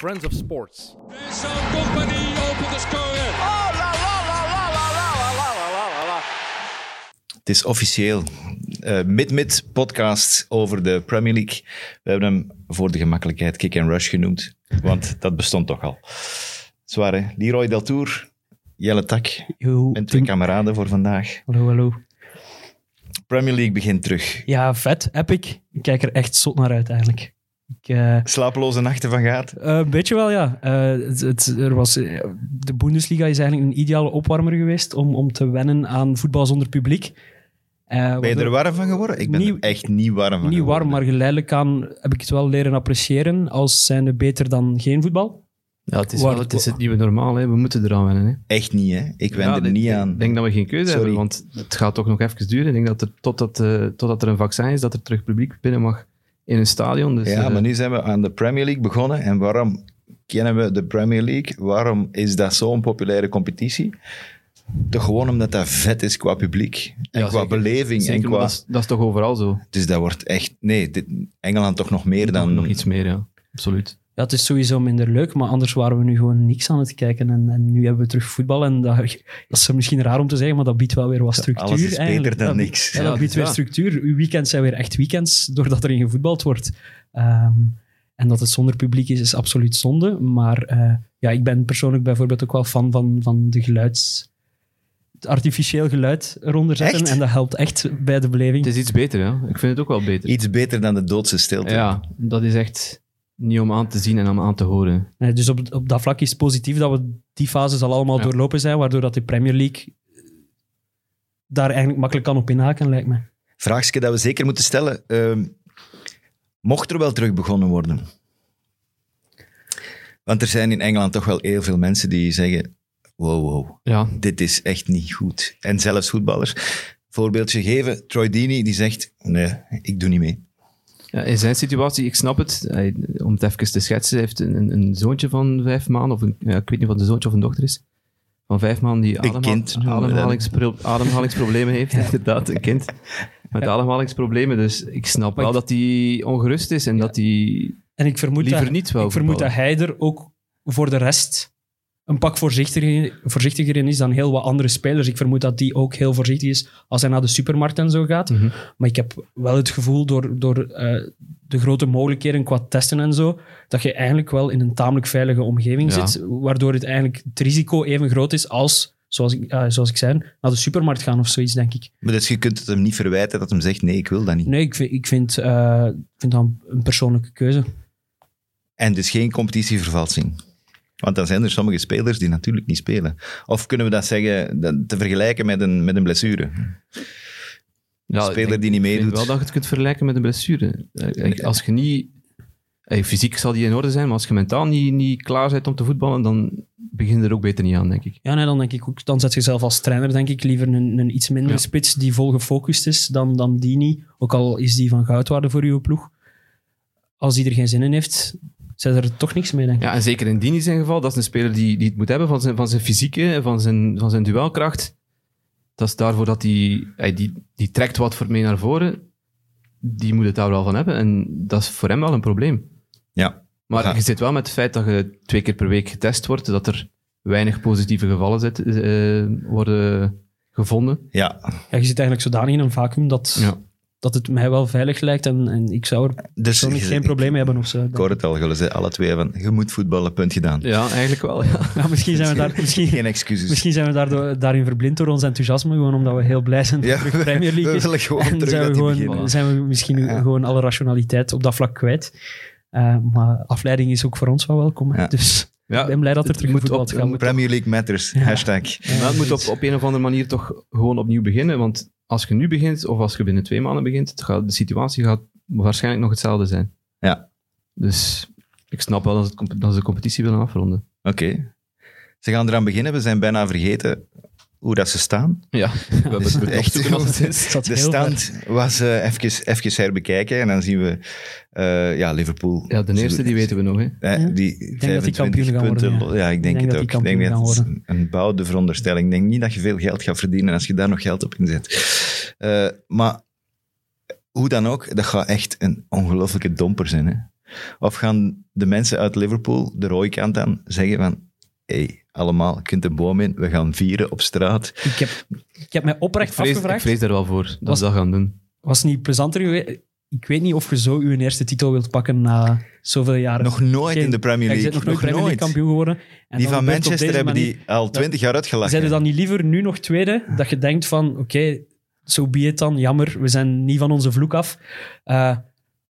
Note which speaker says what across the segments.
Speaker 1: Friends of Sports.
Speaker 2: Vincent Company opent de score. Oh, la la la la la la la la la la.
Speaker 3: Het is officieel. Eh, Mid-Mid podcast over de Premier League. We hebben hem voor de gemakkelijkheid Kick and Rush genoemd, want dat bestond toch al. Zwaar hè? Leroy Deltour, Jelle Tak
Speaker 4: Yo,
Speaker 3: en twee
Speaker 4: toen-
Speaker 3: kameraden voor vandaag.
Speaker 4: hallo, hallo.
Speaker 3: Premier League begint terug.
Speaker 4: Ja, vet, epic. Ik kijk er echt zot naar uit, eigenlijk. Ik, eh, eh,
Speaker 3: Slapeloze nachten van gaat.
Speaker 4: een beetje wel, ja. Eh, het, het- er was, eh, de Bundesliga is eigenlijk een ideale opwarmer geweest om, om te wennen aan voetbal zonder publiek. Eh,
Speaker 3: Ben je er
Speaker 4: waardoor-
Speaker 3: warm van geworden? Ik ben
Speaker 4: Niet-
Speaker 3: er echt niet warm van
Speaker 4: Niet warm,
Speaker 3: geworden.
Speaker 4: maar geleidelijk aan heb ik het wel leren appreciëren als zijnde beter dan geen voetbal.
Speaker 5: Ja, het is,
Speaker 4: Waar-
Speaker 5: wel, het, is het nieuwe normaal. Hè. We moeten eraan wennen. Hè.
Speaker 3: Echt niet, hè? Ik wend
Speaker 5: Ja,
Speaker 3: er
Speaker 5: dit-
Speaker 3: niet aan.
Speaker 5: Ik denk dat we geen keuze
Speaker 3: Sorry.
Speaker 5: hebben, want het gaat toch nog even duren. Ik denk dat er, totdat, eh, totdat er een vaccin is, dat er terug publiek binnen mag in een stadion. Dus,
Speaker 3: ja,
Speaker 5: eh,
Speaker 3: maar nu zijn we aan de Premier League begonnen. En waarom kennen we de Premier League? Waarom is dat zo'n populaire competitie? Toch gewoon omdat dat vet is qua publiek en
Speaker 5: Ja,
Speaker 3: qua
Speaker 5: zeker.
Speaker 3: beleving.
Speaker 5: zeker, maar
Speaker 3: en qua...
Speaker 5: dat, is, dat is toch overal zo?
Speaker 3: Dus dat wordt echt... Nee, dit- Engeland toch nog meer dan...
Speaker 5: Nog iets meer, ja. Absoluut.
Speaker 4: Ja, het is sowieso minder leuk, maar anders waren we nu gewoon niks aan het kijken. En, en nu hebben we terug voetbal. En dat, dat is misschien raar om te zeggen, maar dat biedt wel weer wat structuur.
Speaker 3: Alles is beter
Speaker 4: eigenlijk.
Speaker 3: dan
Speaker 4: Dat-
Speaker 3: niks.
Speaker 4: Ja,
Speaker 5: Ja,
Speaker 4: dat
Speaker 5: dat
Speaker 4: biedt
Speaker 5: is
Speaker 4: weer
Speaker 5: waar.
Speaker 4: structuur. Uw weekends zijn weer echt weekends, doordat er in gevoetbald wordt. Ehm, en dat het zonder publiek is, is absoluut zonde. Maar eh, ja, ik ben persoonlijk bijvoorbeeld ook wel fan van, van de geluids... Het artificieel geluid eronder zetten.
Speaker 3: Echt?
Speaker 4: En dat helpt echt bij de beleving.
Speaker 5: Het is iets beter, ja. Ik vind het ook wel beter.
Speaker 3: Iets beter dan de doodse stilte.
Speaker 5: Ja, dat is echt niet om aan te zien en om aan te horen.
Speaker 4: Nee, dus op, op dat vlak is het positief dat we die fases al allemaal
Speaker 5: Ja.
Speaker 4: doorlopen zijn, waardoor dat de Premier League daar eigenlijk makkelijk kan op inhaken, lijkt me.
Speaker 3: Vraagje dat we zeker moeten stellen. ehm, mocht er wel terug begonnen worden? Want er zijn in Engeland toch wel heel veel mensen die zeggen... Wow, wow.
Speaker 5: Ja,
Speaker 3: dit is echt niet goed. En zelfs voetballers. Voorbeeldje geven, Troy Deeney, die zegt, nee, ik doe niet mee.
Speaker 5: Ja, in zijn situatie, ik snap het. Hij- om het even te schetsen, hij heeft een, een- een zoontje van vijf maanden, of een, ja, ik weet niet wat een zoontje of een dochter is, van vijf maanden die ademha-
Speaker 3: kind noemen we dat.
Speaker 5: ademhalingspro- ademhalingsproblemen heeft. Inderdaad, een kind met ademhalingsproblemen. Dus ik snap
Speaker 4: Maar
Speaker 5: wel
Speaker 4: ik-
Speaker 5: dat hij ongerust is en dat hij
Speaker 4: En ik vermoed
Speaker 5: liever
Speaker 4: dat,
Speaker 5: niet wel
Speaker 4: ik vermoed dat
Speaker 5: voetballen.
Speaker 4: hij er ook voor de rest een pak voorzichtiger in, voorzichtiger in is dan heel wat andere spelers. Ik vermoed dat die ook heel voorzichtig is als hij naar de supermarkt en zo gaat.
Speaker 5: Mhm.
Speaker 4: Maar ik heb wel het gevoel, door, door eh, de grote mogelijkheden qua testen en zo, dat je eigenlijk wel in een tamelijk veilige omgeving
Speaker 5: Ja.
Speaker 4: zit, waardoor het eigenlijk het risico even groot is als, zoals ik, eh, zoals ik zei, naar de supermarkt gaan of zoiets, denk ik.
Speaker 3: Maar dus je kunt het hem niet verwijten dat hem zegt, nee, ik wil dat niet.
Speaker 4: Nee, ik vind, ik vind, eh, ik vind dat een persoonlijke keuze.
Speaker 3: En dus geen competitievervalsing. Want dan zijn er sommige spelers die natuurlijk niet spelen. Of kunnen we dat zeggen, dat, te vergelijken met een, met een blessure?
Speaker 5: Ja,
Speaker 3: Een speler
Speaker 5: ik denk-
Speaker 3: die niet
Speaker 5: Ik
Speaker 3: meedoet.
Speaker 5: vind wel dat je het kunt vergelijken met een blessure. Eh, ik- Als je niet... eh, fysiek zal die in orde zijn, maar als je mentaal niet, niet klaar bent om te voetballen, dan begin je er ook beter niet aan, denk ik.
Speaker 4: Ja, nee, dan denk ik ook. Dan zet je zelf als trainer, denk ik, liever een, een iets minder
Speaker 5: Ja.
Speaker 4: spits die vol gefocust is dan, dan die niet. Ook al is die van goudwaarde voor uw ploeg. Als die er geen zin in heeft, zet er toch niks mee, denk ik.
Speaker 5: Ja, en zeker in Dini zijn geval, dat is een speler die, die het moet hebben van zijn, van zijn fysieke, en van zijn, van zijn duelkracht. Dat is daarvoor dat hij, hij die, die trekt wat voor mee naar voren. Die moet het daar wel van hebben en dat is voor hem wel een probleem.
Speaker 3: Ja.
Speaker 5: Maar
Speaker 3: Ja.
Speaker 5: je zit wel met het feit dat je twee keer per week getest wordt, dat er weinig positieve gevallen zit, eh, worden gevonden.
Speaker 3: Ja, dus
Speaker 4: Ja, je zit eigenlijk zodanig in een vacuüm dat,
Speaker 5: Ja.
Speaker 4: dat het mij wel veilig lijkt en, en ik zou er
Speaker 3: dus
Speaker 4: persoonlijk geen probleem mee hebben of zo.
Speaker 3: Ik hoor het al, jullie zeiden alle twee van, je moet voetballen, punt gedaan.
Speaker 5: Ja, eigenlijk wel. Ja.
Speaker 4: Ja, misschien zijn we daar... Misschien,
Speaker 3: Geen excuses.
Speaker 4: Misschien zijn we daardoor, daarin verblind door ons enthousiasme, gewoon omdat we heel blij zijn dat
Speaker 3: Ja,
Speaker 4: er terug Premier
Speaker 3: we
Speaker 4: League is.
Speaker 3: willen gewoon
Speaker 4: En
Speaker 3: terug
Speaker 4: zijn
Speaker 3: dat
Speaker 4: we,
Speaker 3: die beginnen.
Speaker 4: gewoon, zijn we misschien
Speaker 3: Ja.
Speaker 4: gewoon alle rationaliteit op dat vlak kwijt. Eh, maar afleiding is ook voor ons wel welkom. hè.
Speaker 3: Ja.
Speaker 4: Dus
Speaker 5: Ja,
Speaker 4: ik ben blij dat er
Speaker 5: het
Speaker 4: terug
Speaker 5: moet
Speaker 4: voetbal
Speaker 5: op-
Speaker 4: gaat.
Speaker 5: moet-
Speaker 3: Premier League matters, hashtag.
Speaker 5: Maar het moet op, op een of andere manier toch gewoon opnieuw beginnen. Want als je nu begint, of als je binnen twee maanden begint, het gaat, de situatie gaat waarschijnlijk nog hetzelfde zijn.
Speaker 3: Ja.
Speaker 5: Dus ik snap wel dat, het, comp- dat ze de competitie willen afronden.
Speaker 3: Oké. Ze gaan eraan beginnen. We zijn bijna vergeten hoe dat ze staan.
Speaker 5: Ja, we hebben
Speaker 3: Dus
Speaker 5: het
Speaker 3: echt
Speaker 5: echt als het is.
Speaker 4: Het zat
Speaker 3: De
Speaker 4: heel ver.
Speaker 3: stand was eh even, even herbekijken. En dan zien we eh, ja, Liverpool.
Speaker 5: Ja, de eerste die weten we nog. Hè.
Speaker 3: Eh,
Speaker 4: Ja.
Speaker 3: die
Speaker 4: denk dat die
Speaker 3: 25
Speaker 4: kampioen gaan
Speaker 3: punten.
Speaker 4: worden,
Speaker 3: ja. ik denk,
Speaker 4: Ik denk
Speaker 3: het
Speaker 4: dat
Speaker 3: ook.
Speaker 4: die
Speaker 3: Ik denk
Speaker 4: kampioen
Speaker 3: dat het
Speaker 4: gaan
Speaker 3: een, een bouwde veronderstelling. Ik denk niet dat je veel geld gaat verdienen als je daar nog geld op inzet. Eh maar hoe dan ook, dat gaat echt een ongelofelijke domper zijn. Hè? Of gaan de mensen uit Liverpool, de rode kant aan, zeggen van... hey, allemaal, je kunt een boom in, we gaan vieren op straat.
Speaker 4: Ik heb, ik heb mij
Speaker 5: Ik
Speaker 4: oprecht
Speaker 5: vrees, ik
Speaker 4: afgevraagd.
Speaker 5: vrees daar wel voor dat
Speaker 4: Was-
Speaker 5: ze dat gaan doen.
Speaker 4: Was het niet plezanter geweest? Ik weet niet of je zo je eerste titel wilt pakken na zoveel jaren.
Speaker 3: Nog nooit
Speaker 4: Geen-
Speaker 3: in de Premier
Speaker 4: Ja, je
Speaker 3: League.
Speaker 4: bent nog nooit Premier League kampioen geworden. En
Speaker 3: Die
Speaker 4: dan
Speaker 3: van
Speaker 4: gebeurt het op
Speaker 3: Manchester
Speaker 4: deze
Speaker 3: hebben
Speaker 4: manier.
Speaker 3: die al twintig jaar uitgelachen.
Speaker 4: Zijn er dan niet liever nu nog tweede? Dat je denkt van, oké, zo be it dan. Jammer, we zijn niet van onze vloek af. Eh,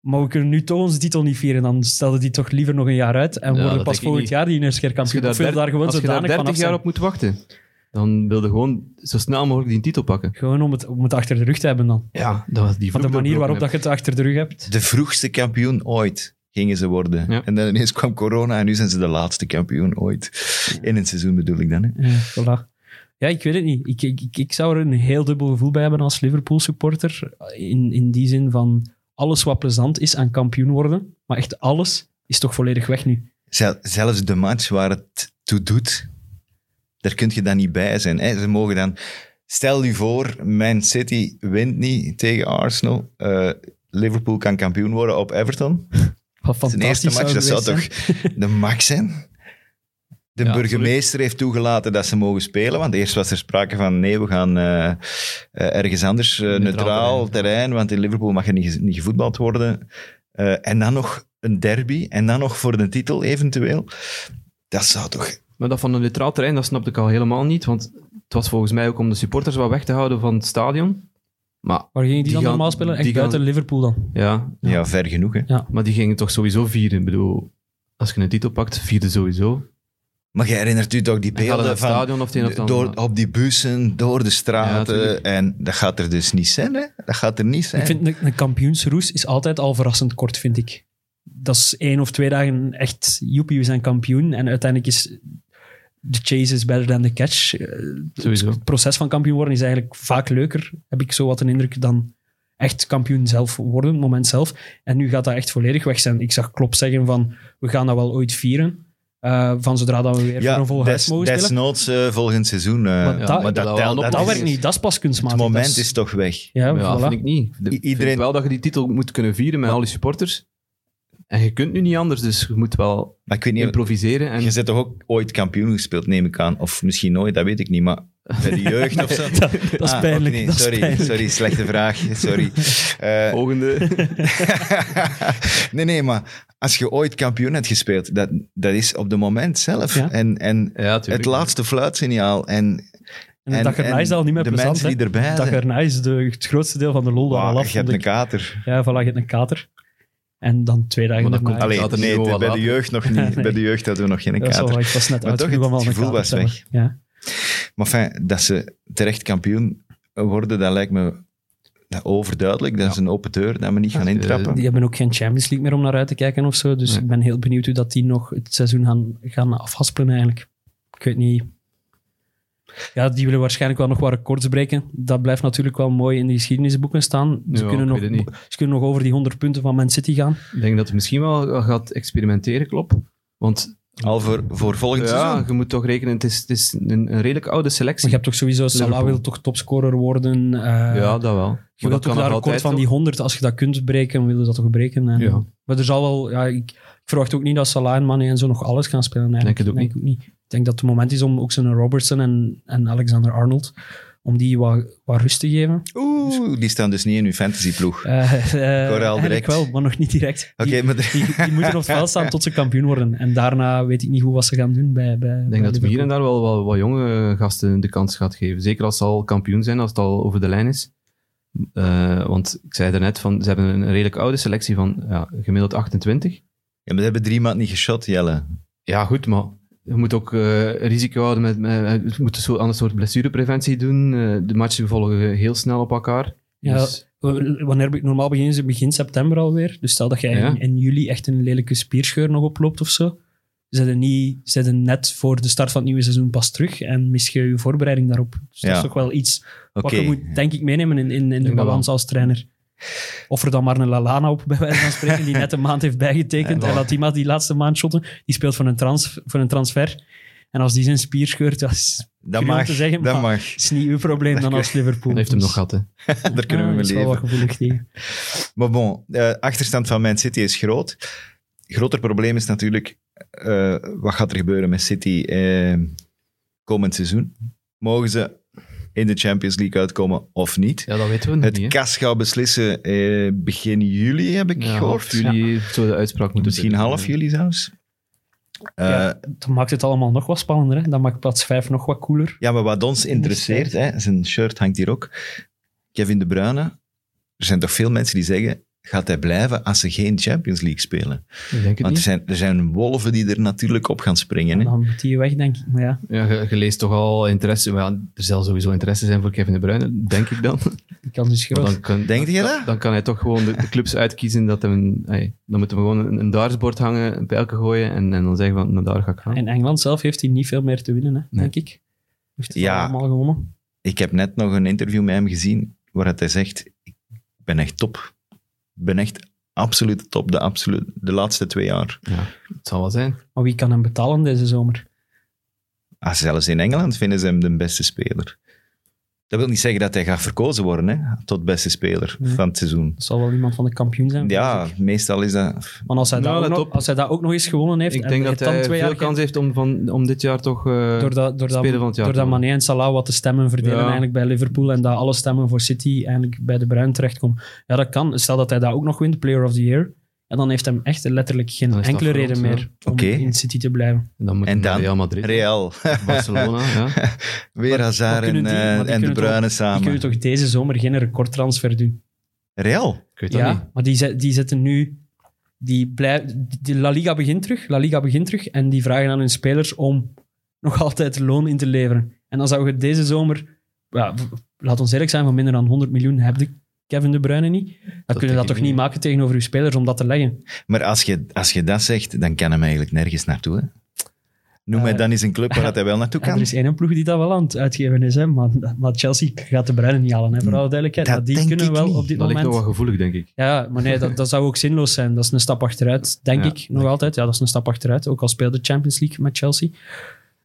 Speaker 4: maar we kunnen nu toch onze titel niet vieren. Dan stelde die toch liever nog een jaar uit. En
Speaker 5: Ja,
Speaker 4: worden
Speaker 5: dat
Speaker 4: pas
Speaker 5: denk ik
Speaker 4: volgend
Speaker 5: niet.
Speaker 4: jaar die eerste keer
Speaker 5: Als je
Speaker 4: kampioen.
Speaker 5: daar,
Speaker 4: Of wil je
Speaker 5: der-
Speaker 4: daar gewoon
Speaker 5: als je daar
Speaker 4: zodanig van
Speaker 5: 30
Speaker 4: af
Speaker 5: jaar
Speaker 4: zijn?
Speaker 5: op moet wachten, dan wil je gewoon zo snel mogelijk die titel pakken.
Speaker 4: Gewoon om het, om het achter de rug te hebben dan.
Speaker 5: Ja, dat was die
Speaker 4: Van de
Speaker 5: vloek
Speaker 4: manier waarop
Speaker 5: doorbroken
Speaker 4: dat je het achter de rug hebt.
Speaker 3: De vroegste kampioen ooit gingen ze worden.
Speaker 5: Ja.
Speaker 3: En dan ineens kwam corona en nu zijn ze de laatste kampioen ooit. In een seizoen bedoel ik dan. Hè.
Speaker 4: Ja, voilà. Ja, ik weet het niet. Ik, ik, ik, ik zou er een heel dubbel gevoel bij hebben als Liverpool-supporter. In, in die zin van alles wat plezant is aan kampioen worden, maar echt alles, is toch volledig weg nu.
Speaker 3: Zel- zelfs de match waar het toe doet, daar kun je dan niet bij zijn. Hè? Ze mogen dan... Stel je voor, Man City wint niet tegen Arsenal. Eh, Liverpool kan kampioen worden op Everton.
Speaker 4: Wat
Speaker 3: Zijn eerste
Speaker 4: fantastisch
Speaker 3: match, dat zou
Speaker 4: geweest
Speaker 3: toch
Speaker 4: zijn.
Speaker 3: de max zijn? De
Speaker 5: Ja,
Speaker 3: burgemeester heeft toegelaten dat ze mogen spelen, want eerst was er sprake van nee, we gaan eh, eh, ergens anders, eh, neutraal,
Speaker 5: Neutraal
Speaker 3: terrein. want in Liverpool mag er niet, ge- niet gevoetbald worden. Eh, en dan nog een derby, en dan nog voor de titel eventueel. Dat zou toch...
Speaker 5: heb. Maar dat van een neutraal terrein, dat snapte ik al helemaal niet. Want het was volgens mij ook om de supporters wat weg te houden van het stadion. Maar
Speaker 4: Waar gingen die,
Speaker 5: Die
Speaker 4: dan
Speaker 5: gaan-
Speaker 4: normaal spelen? Echt
Speaker 5: die gaan-
Speaker 4: buiten Liverpool dan.
Speaker 5: ja,
Speaker 3: Ja, ver genoeg, hè.
Speaker 5: maar die gingen toch sowieso vieren. Ik bedoel, als je een titel pakt, vierde sowieso.
Speaker 3: Maar je herinnert u toch die
Speaker 5: En gaat het naar
Speaker 3: beelden
Speaker 5: het
Speaker 3: van...
Speaker 5: stadion of het een of het ander.
Speaker 3: Door, op die bussen, door de straten.
Speaker 5: tuurlijk.
Speaker 3: en dat gaat er dus niet zijn, hè. Dat gaat er niet zijn.
Speaker 4: Ik vind een, een kampioensroes is altijd al verrassend kort, vind ik. Dat is één of twee dagen echt, joepie, we zijn kampioen. En uiteindelijk is de chase is better than the catch. Eh,
Speaker 5: Sowieso.
Speaker 4: het proces van kampioen worden is eigenlijk vaak leuker, heb ik zo wat een indruk, dan echt kampioen zelf worden, het moment zelf. En nu gaat dat echt volledig weg zijn. Ik zag Klopp zeggen van, we gaan dat wel ooit vieren, eh, van zodra dat we weer voor een vol huis
Speaker 3: des-
Speaker 4: mogen spelen.
Speaker 3: desnoods eh, volgend seizoen. eh,
Speaker 4: Maar dat-
Speaker 3: maar dat,
Speaker 5: dat
Speaker 3: telt-
Speaker 5: wel
Speaker 3: dat
Speaker 4: Dat
Speaker 5: is-
Speaker 4: werkt niet, dat is pas kunstmatig.
Speaker 3: Het moment
Speaker 4: dat
Speaker 3: is toch weg.
Speaker 4: Ja,
Speaker 5: Ja,
Speaker 4: voilà.
Speaker 5: vind ik niet. De-
Speaker 3: I-
Speaker 5: ik
Speaker 3: iedereen-
Speaker 5: vind wel dat je die titel moet kunnen vieren met al je supporters. En je kunt nu niet anders, dus je moet wel
Speaker 3: Maar ik weet niet,
Speaker 5: improviseren. En
Speaker 3: je bent toch ook ooit kampioen gespeeld, neem ik aan. Of misschien nooit, dat weet ik niet, maar bij de jeugd of zo.
Speaker 4: Dat, dat is
Speaker 3: Ah,
Speaker 4: pijnlijk.
Speaker 3: ook niet.
Speaker 4: dat is
Speaker 3: sorry,
Speaker 4: pijnlijk.
Speaker 3: sorry, slechte vraag. Sorry. Eh,
Speaker 5: volgende.
Speaker 3: nee, nee, maar als je ooit kampioen hebt gespeeld, dat, dat is op het moment zelf.
Speaker 4: Ja.
Speaker 3: En, en
Speaker 5: ja, tuurlijk.
Speaker 3: het laatste fluitsignaal. En,
Speaker 4: En de dag erna is dat al niet meer
Speaker 3: de
Speaker 4: plezant.
Speaker 3: mensen
Speaker 4: hè.
Speaker 3: die erbij
Speaker 4: De dag
Speaker 3: zijn.
Speaker 4: erna is de, het grootste deel van de lol daar
Speaker 3: Wauw,
Speaker 4: al af.
Speaker 3: je hebt een
Speaker 4: omdat-
Speaker 3: kater.
Speaker 4: Ja, voilà, je hebt een kater. En dan twee dagen
Speaker 5: Maar dat
Speaker 4: daarna-
Speaker 5: komt
Speaker 3: Allee,
Speaker 5: Later
Speaker 3: nee,
Speaker 5: gewoon
Speaker 3: bij
Speaker 5: wat
Speaker 3: de
Speaker 5: later.
Speaker 3: jeugd nog niet.
Speaker 4: Nee.
Speaker 3: Bij de jeugd hadden we nog geen
Speaker 4: dat is wel
Speaker 3: kater.
Speaker 4: waar, ik was net
Speaker 3: Maar
Speaker 4: uit
Speaker 3: toch,
Speaker 4: genoeg om
Speaker 3: het
Speaker 4: al een
Speaker 3: gevoel
Speaker 4: kater te
Speaker 3: was
Speaker 4: hebben. Ja.
Speaker 3: Maar fijn, dat ze terecht kampioen worden, dat lijkt me overduidelijk. Dat is een open deur dat we niet gaan
Speaker 5: Ja,
Speaker 3: intrappen.
Speaker 4: Die hebben ook geen Champions League meer om naar uit te kijken of zo. Dus
Speaker 5: Nee.
Speaker 4: ik ben heel benieuwd hoe dat die nog het seizoen gaan, gaan afhaspelen eigenlijk. Ik weet niet. Ja, die willen waarschijnlijk wel nog wat records breken. Dat blijft natuurlijk wel mooi in de geschiedenisboeken staan. Ze,
Speaker 5: Ja,
Speaker 4: kunnen,
Speaker 5: ik
Speaker 4: nog,
Speaker 5: weet het niet.
Speaker 4: ze kunnen nog over die 100 punten van Man City gaan.
Speaker 5: Ik denk dat het misschien wel gaat experimenteren, klopt. Want
Speaker 3: Al voor, voor volgend
Speaker 5: ja,
Speaker 3: seizoen.
Speaker 5: je moet toch rekenen, het is, het is een, een redelijk oude selectie.
Speaker 4: Maar je hebt toch sowieso, Salah
Speaker 5: Liverpool.
Speaker 4: wil toch topscorer worden. eh,
Speaker 5: ja, dat wel. Maar
Speaker 4: je
Speaker 5: dat kan
Speaker 4: wilt toch
Speaker 5: nog
Speaker 4: daar
Speaker 5: altijd,
Speaker 4: record van
Speaker 5: toch?
Speaker 4: die 100, als je dat kunt breken, wil je dat toch breken. En-
Speaker 5: Ja.
Speaker 4: Maar er zal wel... Ja, ik, ik verwacht ook niet dat Salah en Mane en zo nog alles gaan spelen. Eigenlijk.
Speaker 5: Denk het ook
Speaker 4: niet. Ik denk dat het moment is om ook zo'n Robertson en, en Alexander-Arnold, om die wat, wat rust te geven.
Speaker 3: Oeh, die staan dus niet in uw fantasyploeg. Oké,
Speaker 4: Eh, eh, eigenlijk
Speaker 3: direct.
Speaker 4: wel, maar nog niet direct. Die,
Speaker 3: maar de-
Speaker 4: die, die moeten op het veld staan tot ze kampioen worden. En daarna weet ik niet hoe wat ze gaan doen bij, bij
Speaker 5: Ik denk dat we hier en daar wel wel wat jonge gasten de kans gaat geven. Zeker als ze al kampioen zijn, als het al over de lijn is. Eh, want ik zei daarnet, van, ze hebben een redelijk oude selectie van ja, gemiddeld 28.
Speaker 3: ja, maar ze hebben drie maanden niet geshot, Jelle.
Speaker 5: Ja, goed, maar je moet ook eh, risico houden met... met je moet een soort, ander soort blessurepreventie doen. Eh, de matchen volgen heel snel op elkaar.
Speaker 4: Ja,
Speaker 5: Dus,
Speaker 4: W- Wanneer be- normaal beginnen ze begin september alweer. Dus stel dat jij
Speaker 5: Ja.
Speaker 4: in, in juli echt een lelijke spierscheur nog oploopt of zo. Ze zijn niet- ze zijn net voor de start van het nieuwe seizoen pas terug en mis je je voorbereiding daarop. Dus dat
Speaker 3: Ja.
Speaker 4: is toch wel iets
Speaker 3: Oké,
Speaker 4: wat je moet, denk ik, meenemen in, in, in de
Speaker 5: dat wel.
Speaker 4: balans als trainer. Of er dan maar een Lalana op, bij wijze van spreken, die net een maand heeft bijgetekend.
Speaker 5: Ja,
Speaker 4: en
Speaker 5: wel.
Speaker 4: laat die maar die laatste maand shotten. Die speelt voor een, trans, voor een transfer. En als die zijn spier scheurt, dat is,
Speaker 3: dat
Speaker 4: om
Speaker 3: mag,
Speaker 4: te zeggen,
Speaker 3: dat
Speaker 4: maar-
Speaker 3: mag.
Speaker 4: is niet uw probleem dan als Liverpool.
Speaker 5: dat heeft hem
Speaker 4: Dus-
Speaker 5: nog gehad, hè.
Speaker 3: Daar kunnen
Speaker 4: Ah,
Speaker 3: we mee
Speaker 4: dat is wel
Speaker 3: leven. eh,
Speaker 4: wat gevoelig tegen.
Speaker 3: Maar bon, de achterstand van Man City is groot. groter probleem is natuurlijk, eh, wat gaat er gebeuren met City eh, komend seizoen? Mogen ze in de Champions League uitkomen of niet?
Speaker 5: Ja, dat weten we nog
Speaker 3: Het
Speaker 5: niet. hè.
Speaker 3: kas gaat beslissen eh, begin juli, heb ik
Speaker 5: Ja, half
Speaker 3: gehoord.
Speaker 5: juli zou de uitspraak moeten
Speaker 3: Misschien
Speaker 5: zijn.
Speaker 3: half juli zelfs. Eh,
Speaker 4: Ja. Dat maakt het allemaal nog wat spannender. Hè? Dat maakt plaats 5 nog wat cooler.
Speaker 3: Ja, maar wat ons interesseert, hè, zijn shirt hangt hier ook. Kevin De Bruyne, er zijn toch veel mensen die zeggen, gaat hij blijven als ze geen Champions League spelen?
Speaker 5: Ik denk het
Speaker 3: Want er
Speaker 5: niet.
Speaker 3: zijn, er zijn wolven die er natuurlijk op gaan springen. Hè?
Speaker 4: Dan moet die weg, denk ik. Maar ja,
Speaker 5: Ja, je, je leest toch al interesse. Maar ja, er zal sowieso interesse zijn voor Kevin De Bruyne, denk ik dan.
Speaker 4: die kans is
Speaker 5: Maar
Speaker 4: groot.
Speaker 5: Dan kan,
Speaker 3: Denk je dat?
Speaker 5: dan, dan kan hij toch gewoon de, de clubs uitkiezen. Dat hem, ey, dan moeten we gewoon een, een dartsbord hangen, een pijlke gooien en, en dan zeggen van, nou daar ga ik gaan.
Speaker 4: In Engeland zelf heeft hij niet veel meer te winnen, hè, denk ik. Heeft hij
Speaker 3: Ja.
Speaker 4: allemaal gewonnen.
Speaker 3: Ik heb net nog een interview met hem gezien waar hij zegt, ik ben echt top. Ik ben echt absoluut top de, absoluut, de laatste twee jaar.
Speaker 5: Het zal wel zijn.
Speaker 4: Maar wie kan hem betalen deze zomer?
Speaker 3: Ah, zelfs in Engeland vinden ze hem de beste speler. Dat wil niet zeggen dat hij gaat verkozen worden hè, tot beste speler
Speaker 4: Nee.
Speaker 3: van het seizoen.
Speaker 4: Dat zal wel iemand van de kampioen zijn.
Speaker 3: Ja,
Speaker 4: denk ik.
Speaker 3: meestal is dat
Speaker 4: Maar als hij,
Speaker 5: Nou,
Speaker 4: dat ook
Speaker 5: let
Speaker 4: nog,
Speaker 5: op.
Speaker 4: als hij dat ook nog eens gewonnen heeft,
Speaker 5: Ik
Speaker 4: en
Speaker 5: denk
Speaker 4: je
Speaker 5: dat
Speaker 4: hebt dan
Speaker 5: hij
Speaker 4: twee
Speaker 5: veel
Speaker 4: jaar
Speaker 5: kans heeft om, van, om dit jaar toch... eh,
Speaker 4: door dat, door dat,
Speaker 5: speler van het jaar
Speaker 4: door dat
Speaker 5: te worden.
Speaker 4: Mané en Salah wat de stemmen verdelen
Speaker 5: Ja.
Speaker 4: eigenlijk bij Liverpool en dat alle stemmen voor City eigenlijk bij de Bruin terechtkomen. Ja, dat kan. Stel dat hij dat ook nog wint, Player of the Year, en dan heeft hem echt letterlijk geen
Speaker 5: Dan is dat
Speaker 4: enkele
Speaker 5: groot,
Speaker 4: reden
Speaker 5: ja.
Speaker 4: meer om
Speaker 3: Oké.
Speaker 4: in City te blijven.
Speaker 5: dan moet
Speaker 3: En
Speaker 5: hij naar
Speaker 3: dan?
Speaker 5: Real Madrid,
Speaker 3: Real.
Speaker 5: Barcelona. ja.
Speaker 3: Weer Hazard
Speaker 4: maar kunnen
Speaker 3: en,
Speaker 4: die- maar
Speaker 3: eh,
Speaker 4: die
Speaker 3: en De
Speaker 4: kunnen
Speaker 3: Bruyne
Speaker 4: Die
Speaker 3: samen.
Speaker 4: kunnen toch deze zomer geen recordtransfer doen?
Speaker 3: Real?
Speaker 5: Ik weet dat
Speaker 4: Ja,
Speaker 5: niet.
Speaker 4: maar die, zet- die zitten nu... Die blijf, die La Liga begint terug, La Liga begint terug en die vragen aan hun spelers om nog altijd loon in te leveren. En dan zou je deze zomer, ja, v- laat ons eerlijk zijn, van minder dan 100 miljoen heb je Kevin De Bruyne niet. Dan kun je
Speaker 5: denk
Speaker 4: dat
Speaker 5: ik
Speaker 4: toch niet
Speaker 5: niet.
Speaker 4: maken tegenover je spelers om dat te leggen.
Speaker 3: Maar als je, als je dat zegt, dan kan hem eigenlijk nergens naartoe. Hè? Noem mij
Speaker 4: Eh,
Speaker 3: dan eens een club waar dat hij wel naartoe
Speaker 4: En
Speaker 3: kan.
Speaker 4: er is één ploeg die dat wel aan het uitgeven is, hè, maar, maar Chelsea gaat De Bruyne niet halen, hè,
Speaker 5: Hm.
Speaker 4: voor alle duidelijkheid.
Speaker 3: Dat
Speaker 4: Maar die
Speaker 3: denk
Speaker 4: kunnen
Speaker 3: ik
Speaker 4: wel
Speaker 3: niet.
Speaker 4: op dit
Speaker 5: Dat ligt
Speaker 4: moment...
Speaker 5: nog wel gevoelig, denk ik.
Speaker 4: Ja, maar nee, dat, dat zou ook zinloos zijn. Dat is een stap achteruit, denk
Speaker 5: Ja,
Speaker 4: ik. Nog altijd. Ja, dat is een stap achteruit. Ook al speelde Champions League met Chelsea.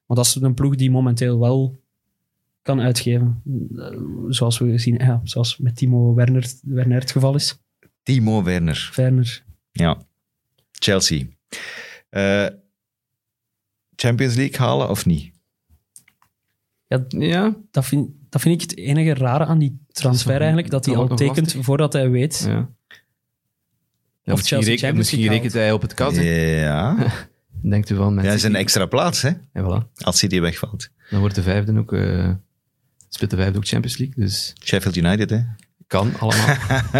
Speaker 4: Maar dat is een ploeg die momenteel wel kan uitgeven. Eh, Zoals we zien, ja, zoals met Timo Werner, Werner het geval is.
Speaker 3: Timo Werner.
Speaker 4: Werner.
Speaker 3: Ja. Chelsea. Eh, Champions League halen of niet?
Speaker 5: Ja,
Speaker 4: Dat vind, dat vind ik het enige rare aan die transfer
Speaker 5: nog-
Speaker 4: eigenlijk. Dat
Speaker 5: dat
Speaker 4: hij al
Speaker 5: wordt nog
Speaker 4: tekent
Speaker 5: lastig.
Speaker 4: voordat hij weet.
Speaker 5: ja. Ja,
Speaker 4: Of
Speaker 5: misschien
Speaker 4: Chelsea
Speaker 5: rekent,
Speaker 4: Champions
Speaker 5: misschien
Speaker 4: League
Speaker 5: rekent hij op het kas. hè.
Speaker 3: Ja.
Speaker 5: Denkt u van,
Speaker 3: Dat
Speaker 5: mensen...
Speaker 3: is een extra plaats, hè?
Speaker 5: En voilà.
Speaker 3: Als City wegvalt.
Speaker 5: Dan wordt de vijfde ook... eh speelt de vijfde ook Champions League, dus...
Speaker 3: Sheffield United, hè?
Speaker 5: Kan allemaal.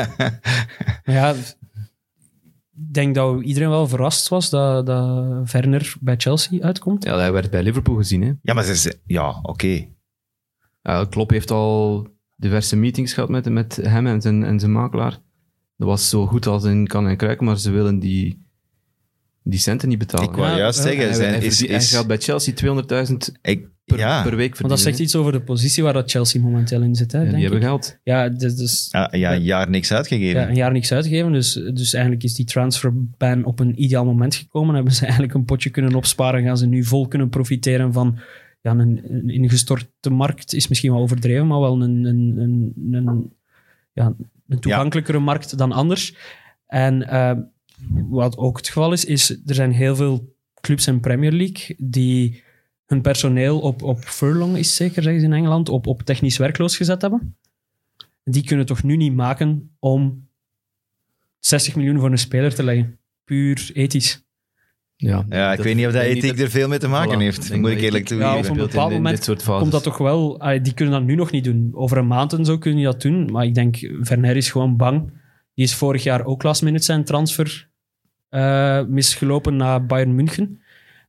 Speaker 4: Maar ja, ik denk dat iedereen wel verrast was dat, dat Werner bij Chelsea uitkomt.
Speaker 5: ja, hij werd bij Liverpool gezien, hè.
Speaker 3: ja, maar ze ze- Ja, oké.
Speaker 5: Ja, Klopp heeft al diverse meetings gehad met, met hem en zijn, en zijn makelaar. Dat was zo goed als in kan en kruik, maar ze willen die, die centen niet betalen.
Speaker 3: Ik wou
Speaker 4: Ja,
Speaker 3: juist
Speaker 4: ja.
Speaker 3: zeggen,
Speaker 5: Oh, hij, hij,
Speaker 3: zijn, is,
Speaker 5: verdient- hij
Speaker 3: is,
Speaker 5: gaat bij Chelsea 200.000
Speaker 3: ik,
Speaker 5: per,
Speaker 3: ja,
Speaker 5: per week verdienen.
Speaker 4: Want dat zegt
Speaker 5: hè.
Speaker 4: iets over de positie waar dat Chelsea momenteel in zit. Hè,
Speaker 5: En
Speaker 4: denk
Speaker 5: die
Speaker 4: ik.
Speaker 5: hebben geld.
Speaker 4: Ja, dus, dus
Speaker 3: Ah, ja, een jaar niks uitgegeven.
Speaker 4: ja, een jaar niks uitgegeven. Dus, dus eigenlijk is die transferban op een ideaal moment gekomen. Hebben ze eigenlijk een potje kunnen opsparen. Gaan ze nu vol kunnen profiteren van ja, een, een ingestorte markt. Is misschien wel overdreven, maar wel een, een, een, een, ja, een toegankelijkere markt dan anders. En eh, wat ook het geval is, is er zijn heel veel clubs in Premier League die hun personeel op, op furlong, is zeker zeggen ze in Engeland, op, op technisch werkloos gezet hebben. Die kunnen toch nu niet maken om 60 miljoen voor een speler te leggen. Puur
Speaker 5: Oh,
Speaker 4: ethisch.
Speaker 5: Ja,
Speaker 3: Ja, ik weet niet of dat ethiek er veel mee te maken
Speaker 5: Voilà.
Speaker 3: heeft,
Speaker 5: Ik denk
Speaker 3: moet ik
Speaker 5: dat
Speaker 3: eerlijk
Speaker 5: ethiek-
Speaker 3: toegeven.
Speaker 4: Ja, op een
Speaker 5: speelt in-
Speaker 4: bepaald
Speaker 5: in
Speaker 4: moment
Speaker 5: dit soort fases.
Speaker 4: Komt dat toch wel... allee, Die kunnen dat nu nog niet doen. Over een maand en zo kun je dat doen. Maar ik denk, Werner is gewoon bang. Die is vorig jaar ook last minute zijn transfer eh, misgelopen naar Bayern München.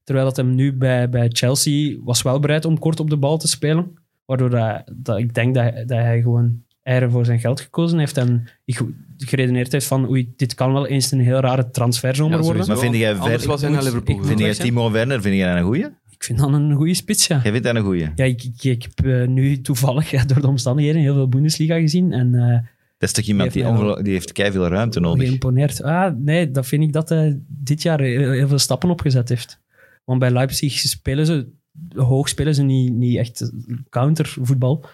Speaker 4: Terwijl dat hem nu bij, bij Chelsea was wel bereid om kort op de bal te spelen. Waardoor dat, dat ik denk dat, dat hij gewoon eieren voor zijn geld gekozen heeft. En ik- geredeneerd heeft van oei, dit kan wel eens een heel rare transferzomer
Speaker 5: Ja,
Speaker 4: worden.
Speaker 5: sowieso.
Speaker 3: Maar vind jij
Speaker 5: Anders
Speaker 3: ver-
Speaker 5: was hij
Speaker 4: Ik
Speaker 5: naar
Speaker 4: moet-
Speaker 5: Liverpool.
Speaker 4: ik
Speaker 5: gegaan.
Speaker 3: Vind jij
Speaker 4: Goed, hè?
Speaker 3: Timo Werner, vind jij dat een goeie?
Speaker 4: Ik vind dat een goede spits, ja.
Speaker 3: Jij vindt dat een goeie?
Speaker 4: Ja, ik, ik, ik heb eh, nu toevallig ja, door de omstandigheden heel veel Bundesliga gezien en eh,
Speaker 3: Dat is toch iemand
Speaker 4: Geef
Speaker 3: die,
Speaker 4: mij wel.
Speaker 3: ongelo- die heeft keiveel ruimte nodig.
Speaker 4: geïmponeerd. Ah, nee, dat vind ik dat hij dit jaar heel, heel veel stappen opgezet heeft. Want bij Leipzig spelen ze hoog, spelen ze niet, niet echt countervoetbal.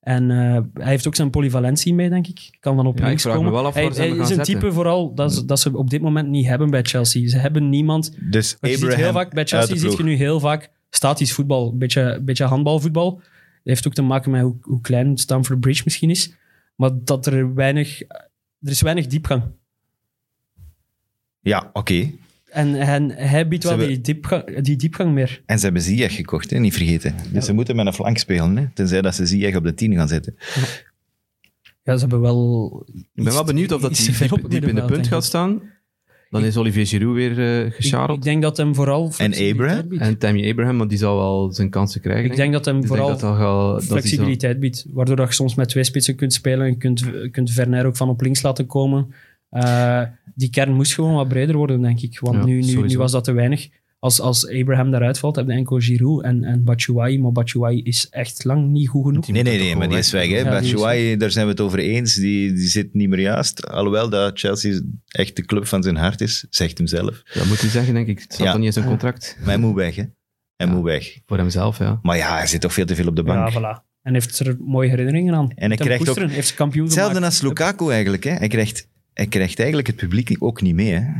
Speaker 4: En eh, hij heeft ook zijn polyvalentie mee, denk ik. Kan dan op
Speaker 5: Ja, ik
Speaker 4: links
Speaker 5: vraag me
Speaker 4: komen.
Speaker 5: wel af waar
Speaker 4: hij
Speaker 5: ze
Speaker 4: hij
Speaker 5: hem
Speaker 4: is
Speaker 5: gaan
Speaker 4: een
Speaker 5: zetten.
Speaker 4: type vooral dat, ze- dat ze op dit moment niet hebben bij Chelsea. Ze hebben niemand
Speaker 3: Dus
Speaker 4: want je ziet heel
Speaker 3: Abraham
Speaker 4: vaak, bij
Speaker 3: uit de
Speaker 4: Chelsea ziet je
Speaker 3: ploeg.
Speaker 4: nu heel vaak statisch voetbal, een beetje, beetje handbalvoetbal. Dat heeft ook te maken met hoe, hoe klein Stamford Bridge misschien is. Maar dat er weinig, er is weinig diepgang.
Speaker 3: Ja, oké.
Speaker 4: En, en hij biedt
Speaker 3: Ze
Speaker 4: wel
Speaker 3: hebben-
Speaker 4: die, diepgang, die diepgang meer.
Speaker 3: En ze hebben Ziyech gekocht, hè? niet vergeten. Dus ze moeten met een flank spelen, hè? tenzij dat ze Ziyech op de 10 gaan zetten.
Speaker 4: Ja, ze hebben wel...
Speaker 5: Ik ben wel benieuwd of dat
Speaker 4: iets
Speaker 5: die
Speaker 4: te veel op
Speaker 5: diep,
Speaker 4: het
Speaker 5: diep in de
Speaker 4: middenveld,
Speaker 5: punt
Speaker 4: denk
Speaker 5: gaat staan. Dan is Olivier Giroud weer eh
Speaker 4: Ik, ik
Speaker 5: gesjareld.
Speaker 4: denk dat hem vooral... flexibiliteit
Speaker 3: Abraham?
Speaker 4: biedt.
Speaker 5: En Tammy Abraham, want die zal wel zijn kansen krijgen.
Speaker 4: Ik denk dat hem
Speaker 5: Dus ik
Speaker 4: vooral
Speaker 5: denk dat dat wel- dat die zal-
Speaker 4: flexibiliteit biedt. Waardoor dat je soms met twee spitsen kunt spelen. Je kunt, kunt Verner ook van op links laten komen. Eh, die kern moest gewoon wat breder worden, denk ik. Want
Speaker 5: Ja,
Speaker 4: nu, nu, nu
Speaker 5: sowieso.
Speaker 4: was dat te weinig. Als, als Abraham daaruit valt, heb je enkel Giroud en, en Batshuayi. Maar Batshuayi is echt lang niet goed genoeg.
Speaker 5: Die
Speaker 3: Nee,
Speaker 5: moet
Speaker 3: nee,
Speaker 5: dat
Speaker 3: nee,
Speaker 5: toch
Speaker 3: maar die
Speaker 5: wel
Speaker 3: is weg.
Speaker 5: weg.
Speaker 3: Hè?
Speaker 4: Ja, die is
Speaker 3: Batshuayi, daar zijn we het over eens, die, die zit niet meer juist. Alhoewel dat Chelsea echt de club van zijn hart is, zegt hem zelf.
Speaker 5: Dat moet hij zeggen, denk ik. Het staat
Speaker 3: Ja.
Speaker 5: dan niet in zijn
Speaker 4: Ja.
Speaker 5: contract.
Speaker 3: Maar hij moet weg, hè. Hij
Speaker 5: Ja.
Speaker 3: moet weg.
Speaker 5: Voor hemzelf, ja.
Speaker 3: Maar ja, hij zit toch veel te veel op de bank.
Speaker 4: Ja, voilà. En heeft er mooie herinneringen aan.
Speaker 3: hij
Speaker 4: Ten
Speaker 3: krijgt ook-
Speaker 4: Koesteren heeft ze kampioen
Speaker 3: Hetzelfde
Speaker 4: gemaakt.
Speaker 3: als Lukaku eigenlijk. Hè. Hij, krijgt, hij krijgt eigenlijk het publiek ook niet mee. Hè.